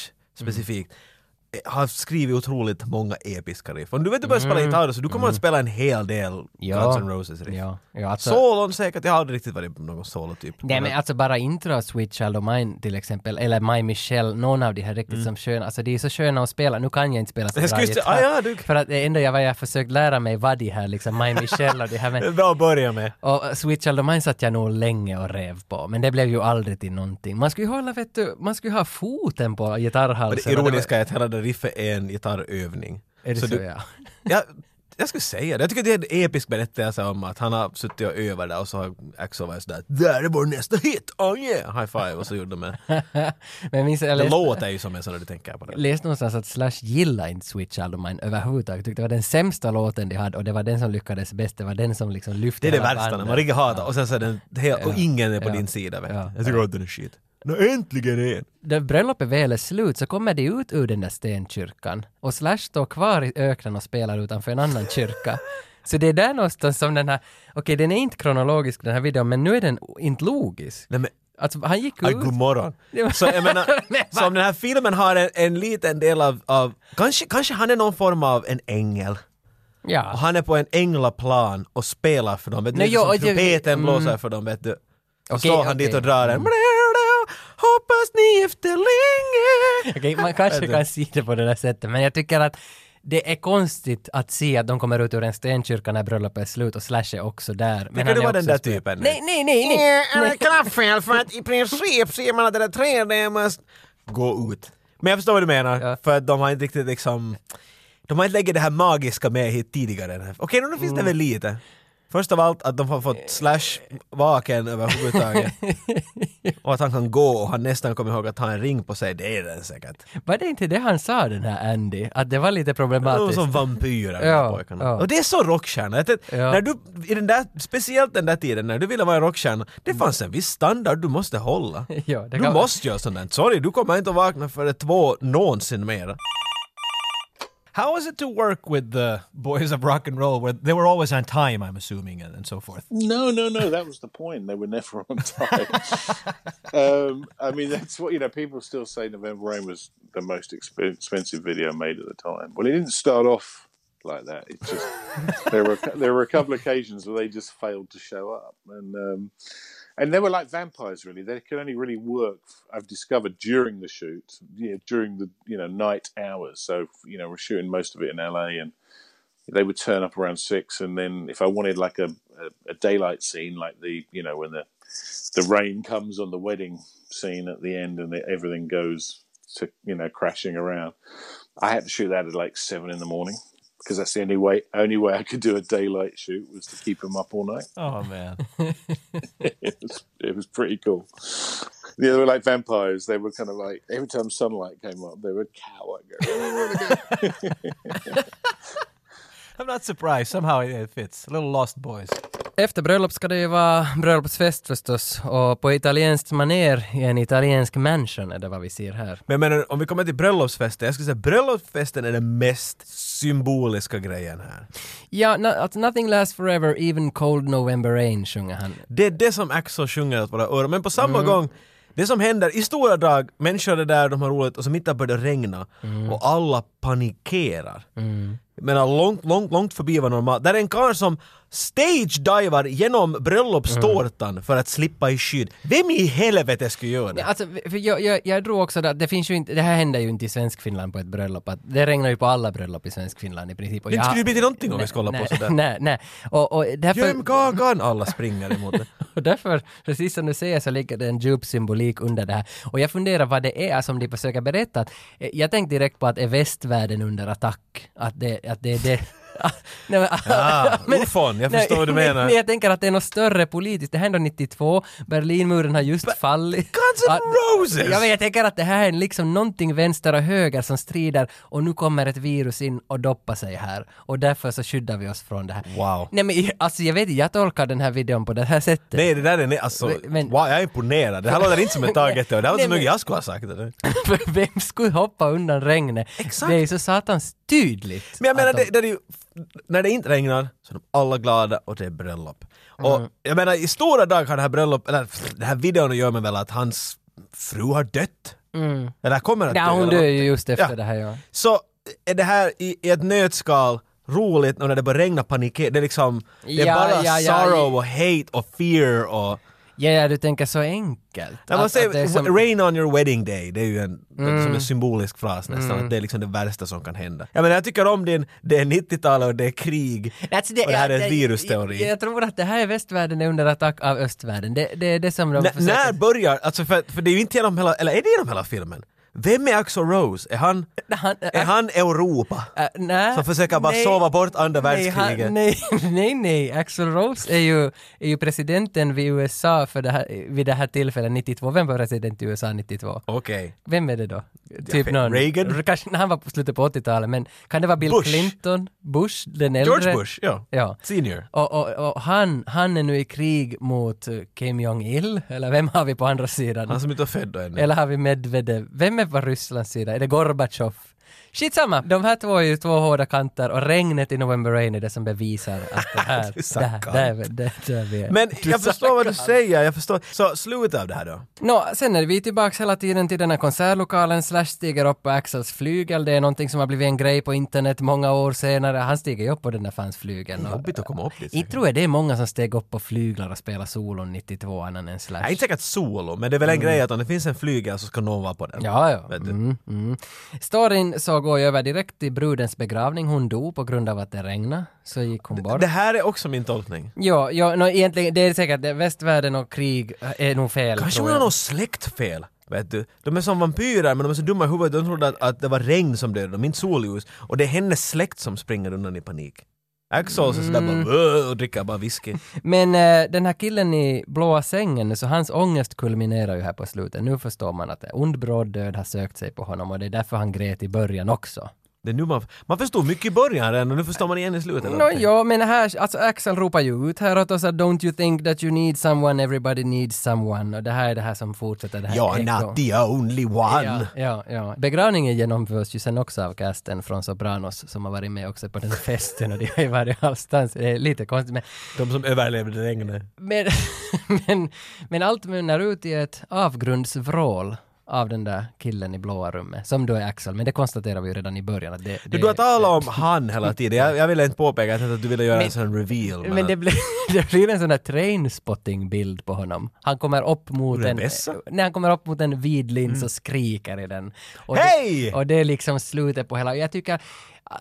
Speaker 2: Mm.
Speaker 3: specifikt, är- har skrivit otroligt många episka riff. Om du vet du börjar spela gitarr så du kommer att spela en hel del
Speaker 2: Mm. Ja.
Speaker 3: Guns N' Roses-riff.
Speaker 2: ja, ja, alltså,
Speaker 3: Solon säkert, jag har aldrig riktigt varit på någon typ. solotyp.
Speaker 2: Nej men alltså bara intro av Sweet Child of Mine till exempel, eller My Michelle, någon av de här riktigt som sköna, alltså de är så sköna att spela, nu kan jag inte spela så
Speaker 3: Mm. Jag
Speaker 2: bra
Speaker 3: skulle just säga,
Speaker 2: gitarr.
Speaker 3: ah, ja, du-
Speaker 2: För att det enda jag, vad jag försökt lära mig var de här liksom, My Michelle och de här
Speaker 3: Det är
Speaker 2: men
Speaker 3: bra att börja med.
Speaker 2: och eh, Sweet Child of Mine satt jag nog länge och rev på, men det blev ju aldrig till någonting. Man skulle ju hålla, vet du, man skulle ju ha foten på
Speaker 3: Och
Speaker 2: gitarrhalsen.
Speaker 3: det
Speaker 2: Och det var-
Speaker 3: ironiska är att hela det riffet är en gitarrövning.
Speaker 2: Är det så,
Speaker 3: du-
Speaker 2: ja?
Speaker 3: jag, jag skulle säga det. Jag tycker det är en episk berättelse om att han har suttit och övat där och så har Axel varit sådär ”Där är vår nästa hit! Oh yeah!” High five och så gjorde de en...
Speaker 2: men jag minns, jag
Speaker 3: Det
Speaker 2: läste,
Speaker 3: låter ju som en sån när du tänker på det.
Speaker 2: läste någonstans att Slash gillade inte Sweet Child of Mine överhuvudtaget. Tyckte det var den sämsta låten de hade och det var den som lyckades bäst, det var den som liksom lyfte
Speaker 3: Det är
Speaker 2: hela
Speaker 3: det värsta, när
Speaker 2: bandet.
Speaker 3: man riktigt hatar och sen så är den helt, och ingen är på
Speaker 2: Ja.
Speaker 3: din sida. Vet du.
Speaker 2: Ja.
Speaker 3: Jag tycker att den är shit. Nå äntligen en!
Speaker 2: när bröllopet väl är slut så kommer de ut ur den där stenkyrkan och Slash står kvar i öknen och spelar utanför en annan kyrka. Så det är där någonstans som den här, okej den är inte kronologisk den här videon men nu är den o- inte logisk.
Speaker 3: Nej men,
Speaker 2: Alltså han gick
Speaker 3: Aj,
Speaker 2: ut...
Speaker 3: god morgon.
Speaker 2: Det var-
Speaker 3: Så jag menar,
Speaker 2: Men
Speaker 3: så om den här filmen har en, en liten del av, av kanske, kanske han är någon form av en ängel. Och
Speaker 2: Ja.
Speaker 3: han är på en änglaplan och spelar för dem. Vet du,
Speaker 2: Nej,
Speaker 3: lite som
Speaker 2: jo, jag-
Speaker 3: trumpeten
Speaker 2: mm.
Speaker 3: blåser för dem, vet du. Så
Speaker 2: Okej,
Speaker 3: står han dit
Speaker 2: okej. Mm.
Speaker 3: och drar en Hoppas ni efter länge!
Speaker 2: Okej, man kanske kan se det på det där sättet men jag tycker att det är konstigt att se att de kommer ut ur en stenkyrka när bröllopet är slut och Slash är också där. Men
Speaker 3: Tycker du
Speaker 2: är
Speaker 3: var den
Speaker 2: också
Speaker 3: där
Speaker 2: spe-
Speaker 3: typen? nu?
Speaker 2: Nej, nej, nej, nej!
Speaker 3: Eh, Är det knappfel för att i princip ser man att det där trädet är mest... Gå ut. Men jag förstår vad du menar,
Speaker 2: Ja.
Speaker 3: för att de har inte riktigt
Speaker 2: Mm.
Speaker 3: liksom... De har inte lagt det här magiska med hit tidigare. Okej, okay, nu finns det väl lite. Först av allt att de har fått Slash vaken överhuvudtaget. och att han kan gå och han nästan kommer ihåg att ha en ring på sig, det är den säkert.
Speaker 2: Var det inte det han sa den här Andy? Att det var lite
Speaker 3: De
Speaker 2: problematiskt?
Speaker 3: som vampyrer, de
Speaker 2: Ja,
Speaker 3: här pojkarna.
Speaker 2: ja.
Speaker 3: Och det är så rockstjärna. Jag tänkte,
Speaker 2: Ja.
Speaker 3: När du, i den där, speciellt den där tiden när du ville vara en rockstjärna, det fanns en viss standard du måste hålla.
Speaker 2: Ja, det
Speaker 3: Du
Speaker 2: kan-
Speaker 3: måste göra sånt där. Sorry, du kommer inte att vakna före två någonsin mera.
Speaker 5: How is it to work with the boys of rock and roll? Where they were always on time, I'm assuming, and, and so forth.
Speaker 4: No, no, no. That was the point. They were never on time. um, I mean, that's what you know. People still say November Rain was the most exp- expensive video made at the time. Well, it didn't start off like that. It just there were there were a couple of occasions where they just failed to show up, and um, and they were like vampires. Really, they could only really work. I've discovered during the shoot, yeah, during the you know night hours. So you know, we're shooting most of it in LA and they would turn up around six, and then if I wanted like a, a, a daylight scene, like the you know when the the rain comes on the wedding scene at the end, and it, everything goes to you know crashing around, I had to shoot that at like seven in the morning because that's the only way only way I could do a daylight shoot was to keep them up all night.
Speaker 5: Oh man,
Speaker 4: It was it was pretty cool. Yeah, they were like vampires. They were kind of like every time sunlight came up, they would cower. Go,
Speaker 5: I'm not surprised. Somehow it, it fits. Little Lost Boys.
Speaker 2: Efter bröllop ska det ju vara bröllopsfest förstås och på italienskt maner i en italiensk mansion är det vad vi ser här.
Speaker 3: Men jag menar, om vi kommer till bröllopsfesten, jag skulle säga bröllopsfesten är den mest symboliska grejen här.
Speaker 2: Ja, no, att nothing lasts forever, even cold November rain sjunger han.
Speaker 3: Det är det som Axel sjunger åt våra öron, men på samma gång det som händer, i stora drag, människor är där, de har roligt och så mitt i börjar det regna och alla panikerar. Men långt, långt, långt förbi vad normalt. Där är en karl som stage-divar genom bröllopstårtan för att slippa i skydd. Vem i helvete skulle göra det?
Speaker 2: Alltså, för jag, jag, jag tror också att det finns ju inte, det här händer ju inte i svensk Finland på ett bröllop. Att det regnar ju på alla bröllop i svensk Finland i princip. Och
Speaker 3: Det
Speaker 2: jag-
Speaker 3: skulle ju bli till någonting om vi skulle hålla
Speaker 2: nej,
Speaker 3: på sådär.
Speaker 2: Nej, nej. Och, och därför...
Speaker 3: Göm kakan! Alla springer emot det.
Speaker 2: Och därför, precis som du säger, så ligger det en djup symbolik under det här. Och jag funderar vad det är som de försöker berätta. Att, eh, Jag tänkte direkt på att är västvärlden under attack? Att det, att det är det... nej, men,
Speaker 3: Ah, ufon, jag förstår vad du
Speaker 2: nej,
Speaker 3: menar.
Speaker 2: Nej, jag tänker att det är något större politiskt. Det här är ändå 92, Berlinmuren har just fallit.
Speaker 3: Guns N'
Speaker 2: Att-
Speaker 3: Roses!
Speaker 2: Ja, men jag tänker att det här är liksom någonting vänster och höger som strider och nu kommer ett virus in och doppar sig här. Och därför så skyddar vi oss från det här.
Speaker 3: Wow.
Speaker 2: Nej men alltså jag vet inte, jag tolkar den här videon på det här sättet.
Speaker 3: Nej, det där är... ne- Alltså,
Speaker 2: Men-
Speaker 3: wow, jag är imponerad. Det här låter inte som ett taget Det här var
Speaker 2: Nej,
Speaker 3: så
Speaker 2: men-
Speaker 3: mycket jag skulle ha sagt. Det där.
Speaker 2: För vem skulle hoppa undan regnet?
Speaker 3: Exakt.
Speaker 2: Det är ju så satans tydligt.
Speaker 3: Men jag menar,
Speaker 2: att de-
Speaker 3: det, det är ju, när det inte regnar så är de alla glada och det är bröllop. Och
Speaker 2: Mm.
Speaker 3: jag menar, i stora dag har det här bröllop, eller pff, den här videon gör mig väl att hans fru har dött. Eller kommer att dö.
Speaker 2: Nej, Mm. hon
Speaker 3: eller
Speaker 2: dör
Speaker 3: vad-
Speaker 2: ju just efter
Speaker 3: Ja.
Speaker 2: det här ja.
Speaker 3: Så är det här i, i ett nötskal roligt och när det börjar regna panik, det är liksom, det är
Speaker 2: Ja,
Speaker 3: bara
Speaker 2: ja, ja.
Speaker 3: sorrow och hate och fear och...
Speaker 2: Ja, ja, du tänker så enkelt.
Speaker 3: Ja, man
Speaker 2: Att- att det
Speaker 3: säger,
Speaker 2: är som- Mm.
Speaker 3: Rain on your wedding day, det är ju en, som en symbolisk fras nästan, att det är liksom det värsta som kan hända. Jag menar jag tycker om din, det är 90-talet och det är krig,
Speaker 2: That's
Speaker 3: och Alltså, det här
Speaker 2: ja,
Speaker 3: är en
Speaker 2: Jag,
Speaker 3: virusteori.
Speaker 2: jag tror att det här är västvärlden är under attack av östvärlden. Det, det är det som de
Speaker 3: N-
Speaker 2: försöker...
Speaker 3: när börjar, alltså för, för det är ju inte genom hela, eller är det genom hela filmen? Vem är Axl Rose? Är han,
Speaker 2: Han-
Speaker 3: är han Europa?
Speaker 2: Äh, nej,
Speaker 3: Som försöker bara sova bort andra
Speaker 2: nej, han-
Speaker 3: världskriget?
Speaker 2: Nej, nej, nej. Axel Rose är ju, är ju presidenten vid USA för det här, vid det här tillfället 92. Vem var president i USA 92?
Speaker 3: Okej.
Speaker 2: Vem är det då? Typ
Speaker 3: vet-
Speaker 2: någon...
Speaker 3: Reagan?
Speaker 2: Kanske när han var på slutet på 80-talet, men kan det vara Bill
Speaker 3: Bush.
Speaker 2: Clinton? Bush? Den äldre?
Speaker 3: George Bush, ja.
Speaker 2: Ja.
Speaker 3: Senior.
Speaker 2: Och, och, och han, han är nu i krig mot eh, Kim Jong-Il, eller vem har vi på andra sidan?
Speaker 3: Han som inte är född ännu.
Speaker 2: Eller har vi Medvedev? Vem är på Rysslands sida? Är det Gorbatjov? Skitsamma, de här två är ju två hårda kanter och regnet i November Rain är det som bevisar att det här,
Speaker 3: Du sa
Speaker 2: det här,
Speaker 3: kant.
Speaker 2: det här, det här, det här vi är.
Speaker 3: Men jag
Speaker 2: sa
Speaker 3: förstår vad du
Speaker 2: kant.
Speaker 3: säger, jag förstår. Så slutet av det här då?
Speaker 2: Nå, sen är vi tillbaks hela tiden till den här konsertlokalen, Slash stiger upp på Axels flygel, det är någonting som har blivit en grej på internet många år senare, han stiger ju upp på den där fans flygeln. och-
Speaker 3: Jobbigt att komma upp dit.
Speaker 2: Inte tror jag det är många som steg upp på flyglar och spelar solon 92 annan än Slash.
Speaker 3: Nej, inte säkert solo, men det är väl en grej att om det finns en flygel så ska någon vara på den.
Speaker 2: Mm. Ja, ja.
Speaker 3: Vet du.
Speaker 2: Mm, mm. Storyn så går jag över direkt till brudens begravning. Hon dog på grund av att det regnade, så gick hon bort.
Speaker 3: Det här är också min tolkning.
Speaker 2: Ja, ja no, egentligen, det är säkert det, västvärlden och krig äh, är nog fel.
Speaker 3: Kanske
Speaker 2: tror
Speaker 3: hon
Speaker 2: jag.
Speaker 3: har något släktfel. Vet du? De är som vampyrer men de är så dumma i huvudet, de trodde att, att det var regn som dödade dem, inte solljus. Och det är hennes släkt som springer undan i panik. Axels är sådär
Speaker 2: Mm.
Speaker 3: bara "Bö", och dricker bara whisky.
Speaker 2: Men eh, den här killen i blåa sängen, så hans ångest kulminerar ju här på slutet. Nu förstår man att en ond bråd död har sökt sig på honom och det är därför han grät i början också.
Speaker 3: Det är nu man, man förstod mycket i början redan och nu förstår man igen i slutet.
Speaker 2: Nå ja, men här, alltså Axel ropar ju ut här åt oss att “Don't you think that you need someone, everybody needs someone” och det här är det här som fortsätter det här ekot.
Speaker 3: You're not the only one.
Speaker 2: Ja, ja, ja. Begravningen genomförs ju sen också av casten från Sopranos som har varit med också på den här festen och det har ju varit allstans. Det är lite konstigt men,
Speaker 3: De som överlevde regnet.
Speaker 2: men, men, men allt mynnar ut i ett avgrundsvrål av den där killen i blåa rummet som då är Axel. Men det konstaterar vi ju redan i början att det, det
Speaker 3: Du, du har talat om han hela tiden. Jag, jag ville inte påpeka att du ville göra en sån reveal.
Speaker 2: Men det blir, det blir en sån där trainspotting-bild på honom. Han kommer upp mot
Speaker 3: Ur en
Speaker 2: en...
Speaker 3: vässa? Mm.
Speaker 2: När han kommer upp mot en vid lins och skriker i den. Och
Speaker 3: Hej!
Speaker 2: Det, och det är liksom slutet på hela... Jag tycker... äh,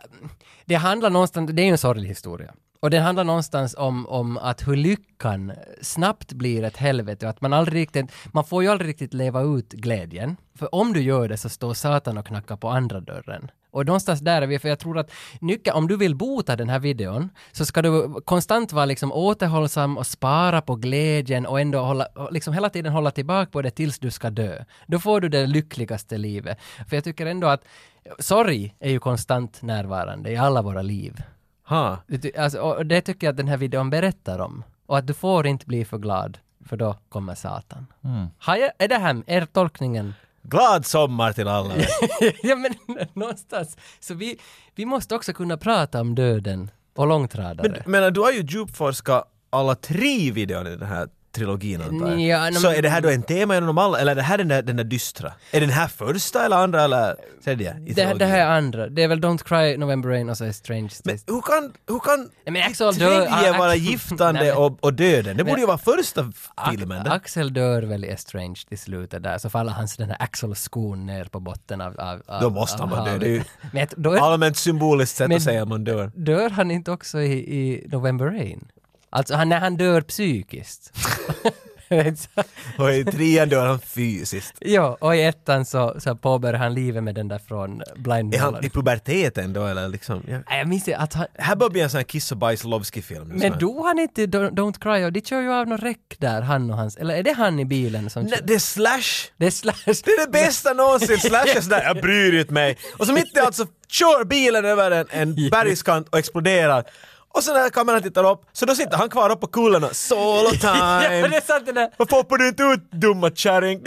Speaker 2: Det handlar någonstans... Det är ju en sorglig historia. Och det handlar någonstans om, om att hur lyckan snabbt blir ett helvete och att man aldrig riktigt... Man får ju aldrig riktigt leva ut glädjen. För om du gör det så står Satan och knackar på andra dörren. Och någonstans där är vi, för jag tror att nyckeln, om du vill bota den här videon, så ska du konstant vara liksom återhållsam och spara på glädjen och ändå hålla, liksom hela tiden hålla tillbaka på det tills du ska dö. Då får du det lyckligaste livet. För jag tycker ändå att sorg är ju konstant närvarande i alla våra liv.
Speaker 3: Ha.
Speaker 2: Det, ty- alltså, och det tycker jag att den här videon berättar om. Och att du får inte bli för glad, för då kommer Satan. Har jag, är det här er tolkningen?
Speaker 3: Glad sommar till alla.
Speaker 2: ja men någonstans. Så vi, vi måste också kunna prata om döden och långtradare.
Speaker 3: Men du har ju djupforskat alla tre videorna i den här trilogin antar jag.
Speaker 2: Ja, nej,
Speaker 3: Så
Speaker 2: men-
Speaker 3: är det här då en tema genom dem alla, eller är det här den där, den där dystra? Är den här första eller andra eller tredje i
Speaker 2: det,
Speaker 3: trilogin?
Speaker 2: det här är andra. Det är väl Don't Cry, November Rain och så är Strange
Speaker 3: Men
Speaker 2: Taste.
Speaker 3: hur kan, hur kan
Speaker 2: Nej, men Axel dör-
Speaker 3: tredje
Speaker 2: Ax-
Speaker 3: vara
Speaker 2: Nej,
Speaker 3: giftande
Speaker 2: men-
Speaker 3: och, och döden? Det borde ju vara första
Speaker 2: Ak-
Speaker 3: filmen. det.
Speaker 2: Axel dör väl i Strange till slutet där, så faller hans den här Axel-skon ner på botten av, av, av
Speaker 3: Då måste han
Speaker 2: av
Speaker 3: vara död.
Speaker 2: havet.
Speaker 3: Det är ju-
Speaker 2: Men jag- då är,
Speaker 3: Allmänt symboliskt sätt
Speaker 2: Men-
Speaker 3: att säga att man dör.
Speaker 2: dör han inte också i, i November Rain? Alltså han, när han dör psykiskt.
Speaker 3: Och i trean dör han fysiskt.
Speaker 2: ja, och i ettan så, så påbörjar han livet med den där från Blind
Speaker 3: Är
Speaker 2: Melon.
Speaker 3: han i puberteten då eller liksom? Ja.
Speaker 2: Nej, Jag minns inte att han,
Speaker 3: Här börjar bli en sån här kiss och bajs Lovski-film.
Speaker 2: Men dog han inte i Don't, Don't Cry? Och de kör ju av någon räck där, han och hans... Eller är det han i bilen som
Speaker 3: Nej,
Speaker 2: kör?
Speaker 3: det är slash!
Speaker 2: Det är Slash.
Speaker 3: Det är det bästa någonsin! Slash är sådär, jag bryr inte mig. Och så mitt i allt så kör bilen över en, en bergskant och exploderar. Och så när kameran tittar upp, så då sitter han kvar uppe på kullen och solo
Speaker 2: Ja, det
Speaker 3: time!
Speaker 2: är sant det där.
Speaker 3: Varför hoppar du inte ut dumma kärring?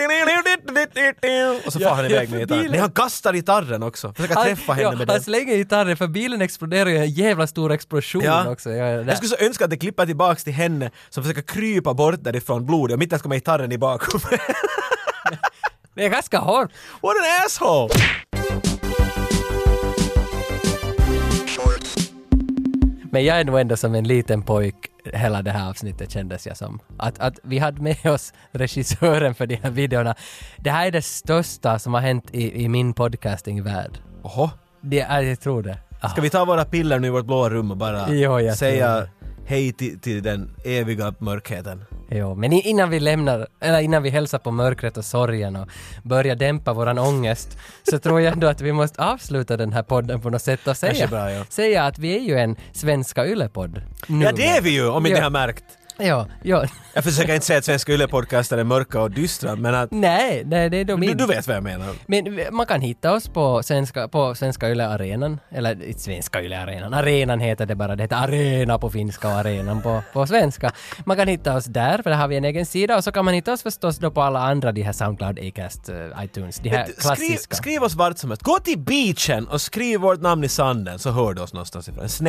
Speaker 3: Och så far han iväg med gitarren. Nej, han kastar gitarren också. Försöker träffa
Speaker 2: han,
Speaker 3: henne
Speaker 2: ja, alltså,
Speaker 3: med
Speaker 2: han
Speaker 3: den.
Speaker 2: slänger gitarren för bilen exploderar ju i en jävla stor explosion
Speaker 3: Ja.
Speaker 2: också. Ja, ja, där.
Speaker 3: Jag skulle så önska att det klipper tillbaks till henne som försöker krypa bort därifrån blodig och mitt i allt kommer gitarren i bakom.
Speaker 2: Det är ganska hårt.
Speaker 3: What an asshole!
Speaker 2: Men jag är nog ändå som en liten pojk hela det här avsnittet kändes jag som. Att, att vi hade med oss regissören för de här videorna. Det här är det största som har hänt i, i min podcastingvärld.
Speaker 3: Oho.
Speaker 2: Det är, jag tror det. Ah.
Speaker 3: Ska vi ta våra piller nu i vårt blåa rum och bara
Speaker 2: Jo, jag tror
Speaker 3: säga
Speaker 2: det. Äh, eh, alltså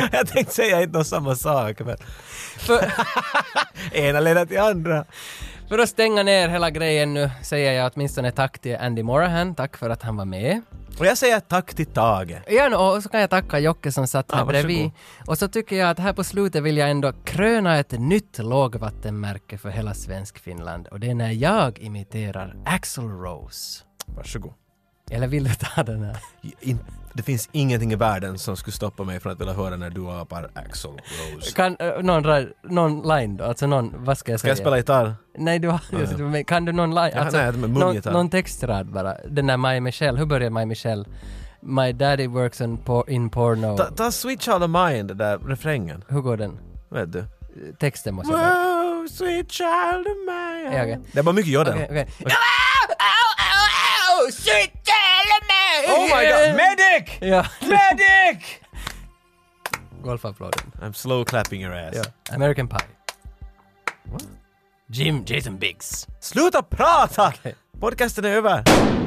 Speaker 3: Jag tänkte säga inte något samma sak, men
Speaker 2: För,
Speaker 3: ena leder till andra.
Speaker 2: för att stänga ner hela grejen nu säger jag åtminstone tack till Andy Morahan, tack för att han var med.
Speaker 3: Och jag säger tack till Tage.
Speaker 2: Ja, nå, och så kan jag tacka Jocke som satt här
Speaker 3: Ah, varsågod.
Speaker 2: bredvid. Och så tycker jag att här på slutet vill jag ändå kröna ett nytt lågvattenmärke för hela Svenskfinland och det är när jag imiterar Axl Rose.
Speaker 3: Varsågod.
Speaker 2: Eller vill du ta den här?
Speaker 3: In, det finns ingenting i världen som skulle stoppa mig från att vilja höra när du apar Axl Rose.
Speaker 2: Kan eh, någon, ra- någon line då? Alltså någon, vad ska jag
Speaker 3: Ska
Speaker 2: säga?
Speaker 3: jag spela gitarr?
Speaker 2: Nej, du har, just, men kan du någon line?
Speaker 3: Ja,
Speaker 2: Alltså,
Speaker 3: nej, men
Speaker 2: någon,
Speaker 3: mungitarr.
Speaker 2: någon textrad bara. Den där My Michelle, hur börjar My Michelle? My daddy works on por- in porno.
Speaker 3: Ta, ta Switch Out of Mind, den där refrängen.
Speaker 2: hur går den?
Speaker 3: Vet du?
Speaker 2: Texten måste jag bara-
Speaker 3: Wow, sweet child of mine.
Speaker 2: Ja, okej.
Speaker 3: Det var mycket jodel.
Speaker 2: Okej, okej. Au, au, au, shit, jävla mig!
Speaker 3: Oh my god, medic!
Speaker 2: Ja,
Speaker 3: Medic!
Speaker 2: golfapplåden.
Speaker 3: I'm slow clapping your ass.
Speaker 2: American Pie. Jim Jason Biggs.
Speaker 3: Sluta prata! Podcasten är över.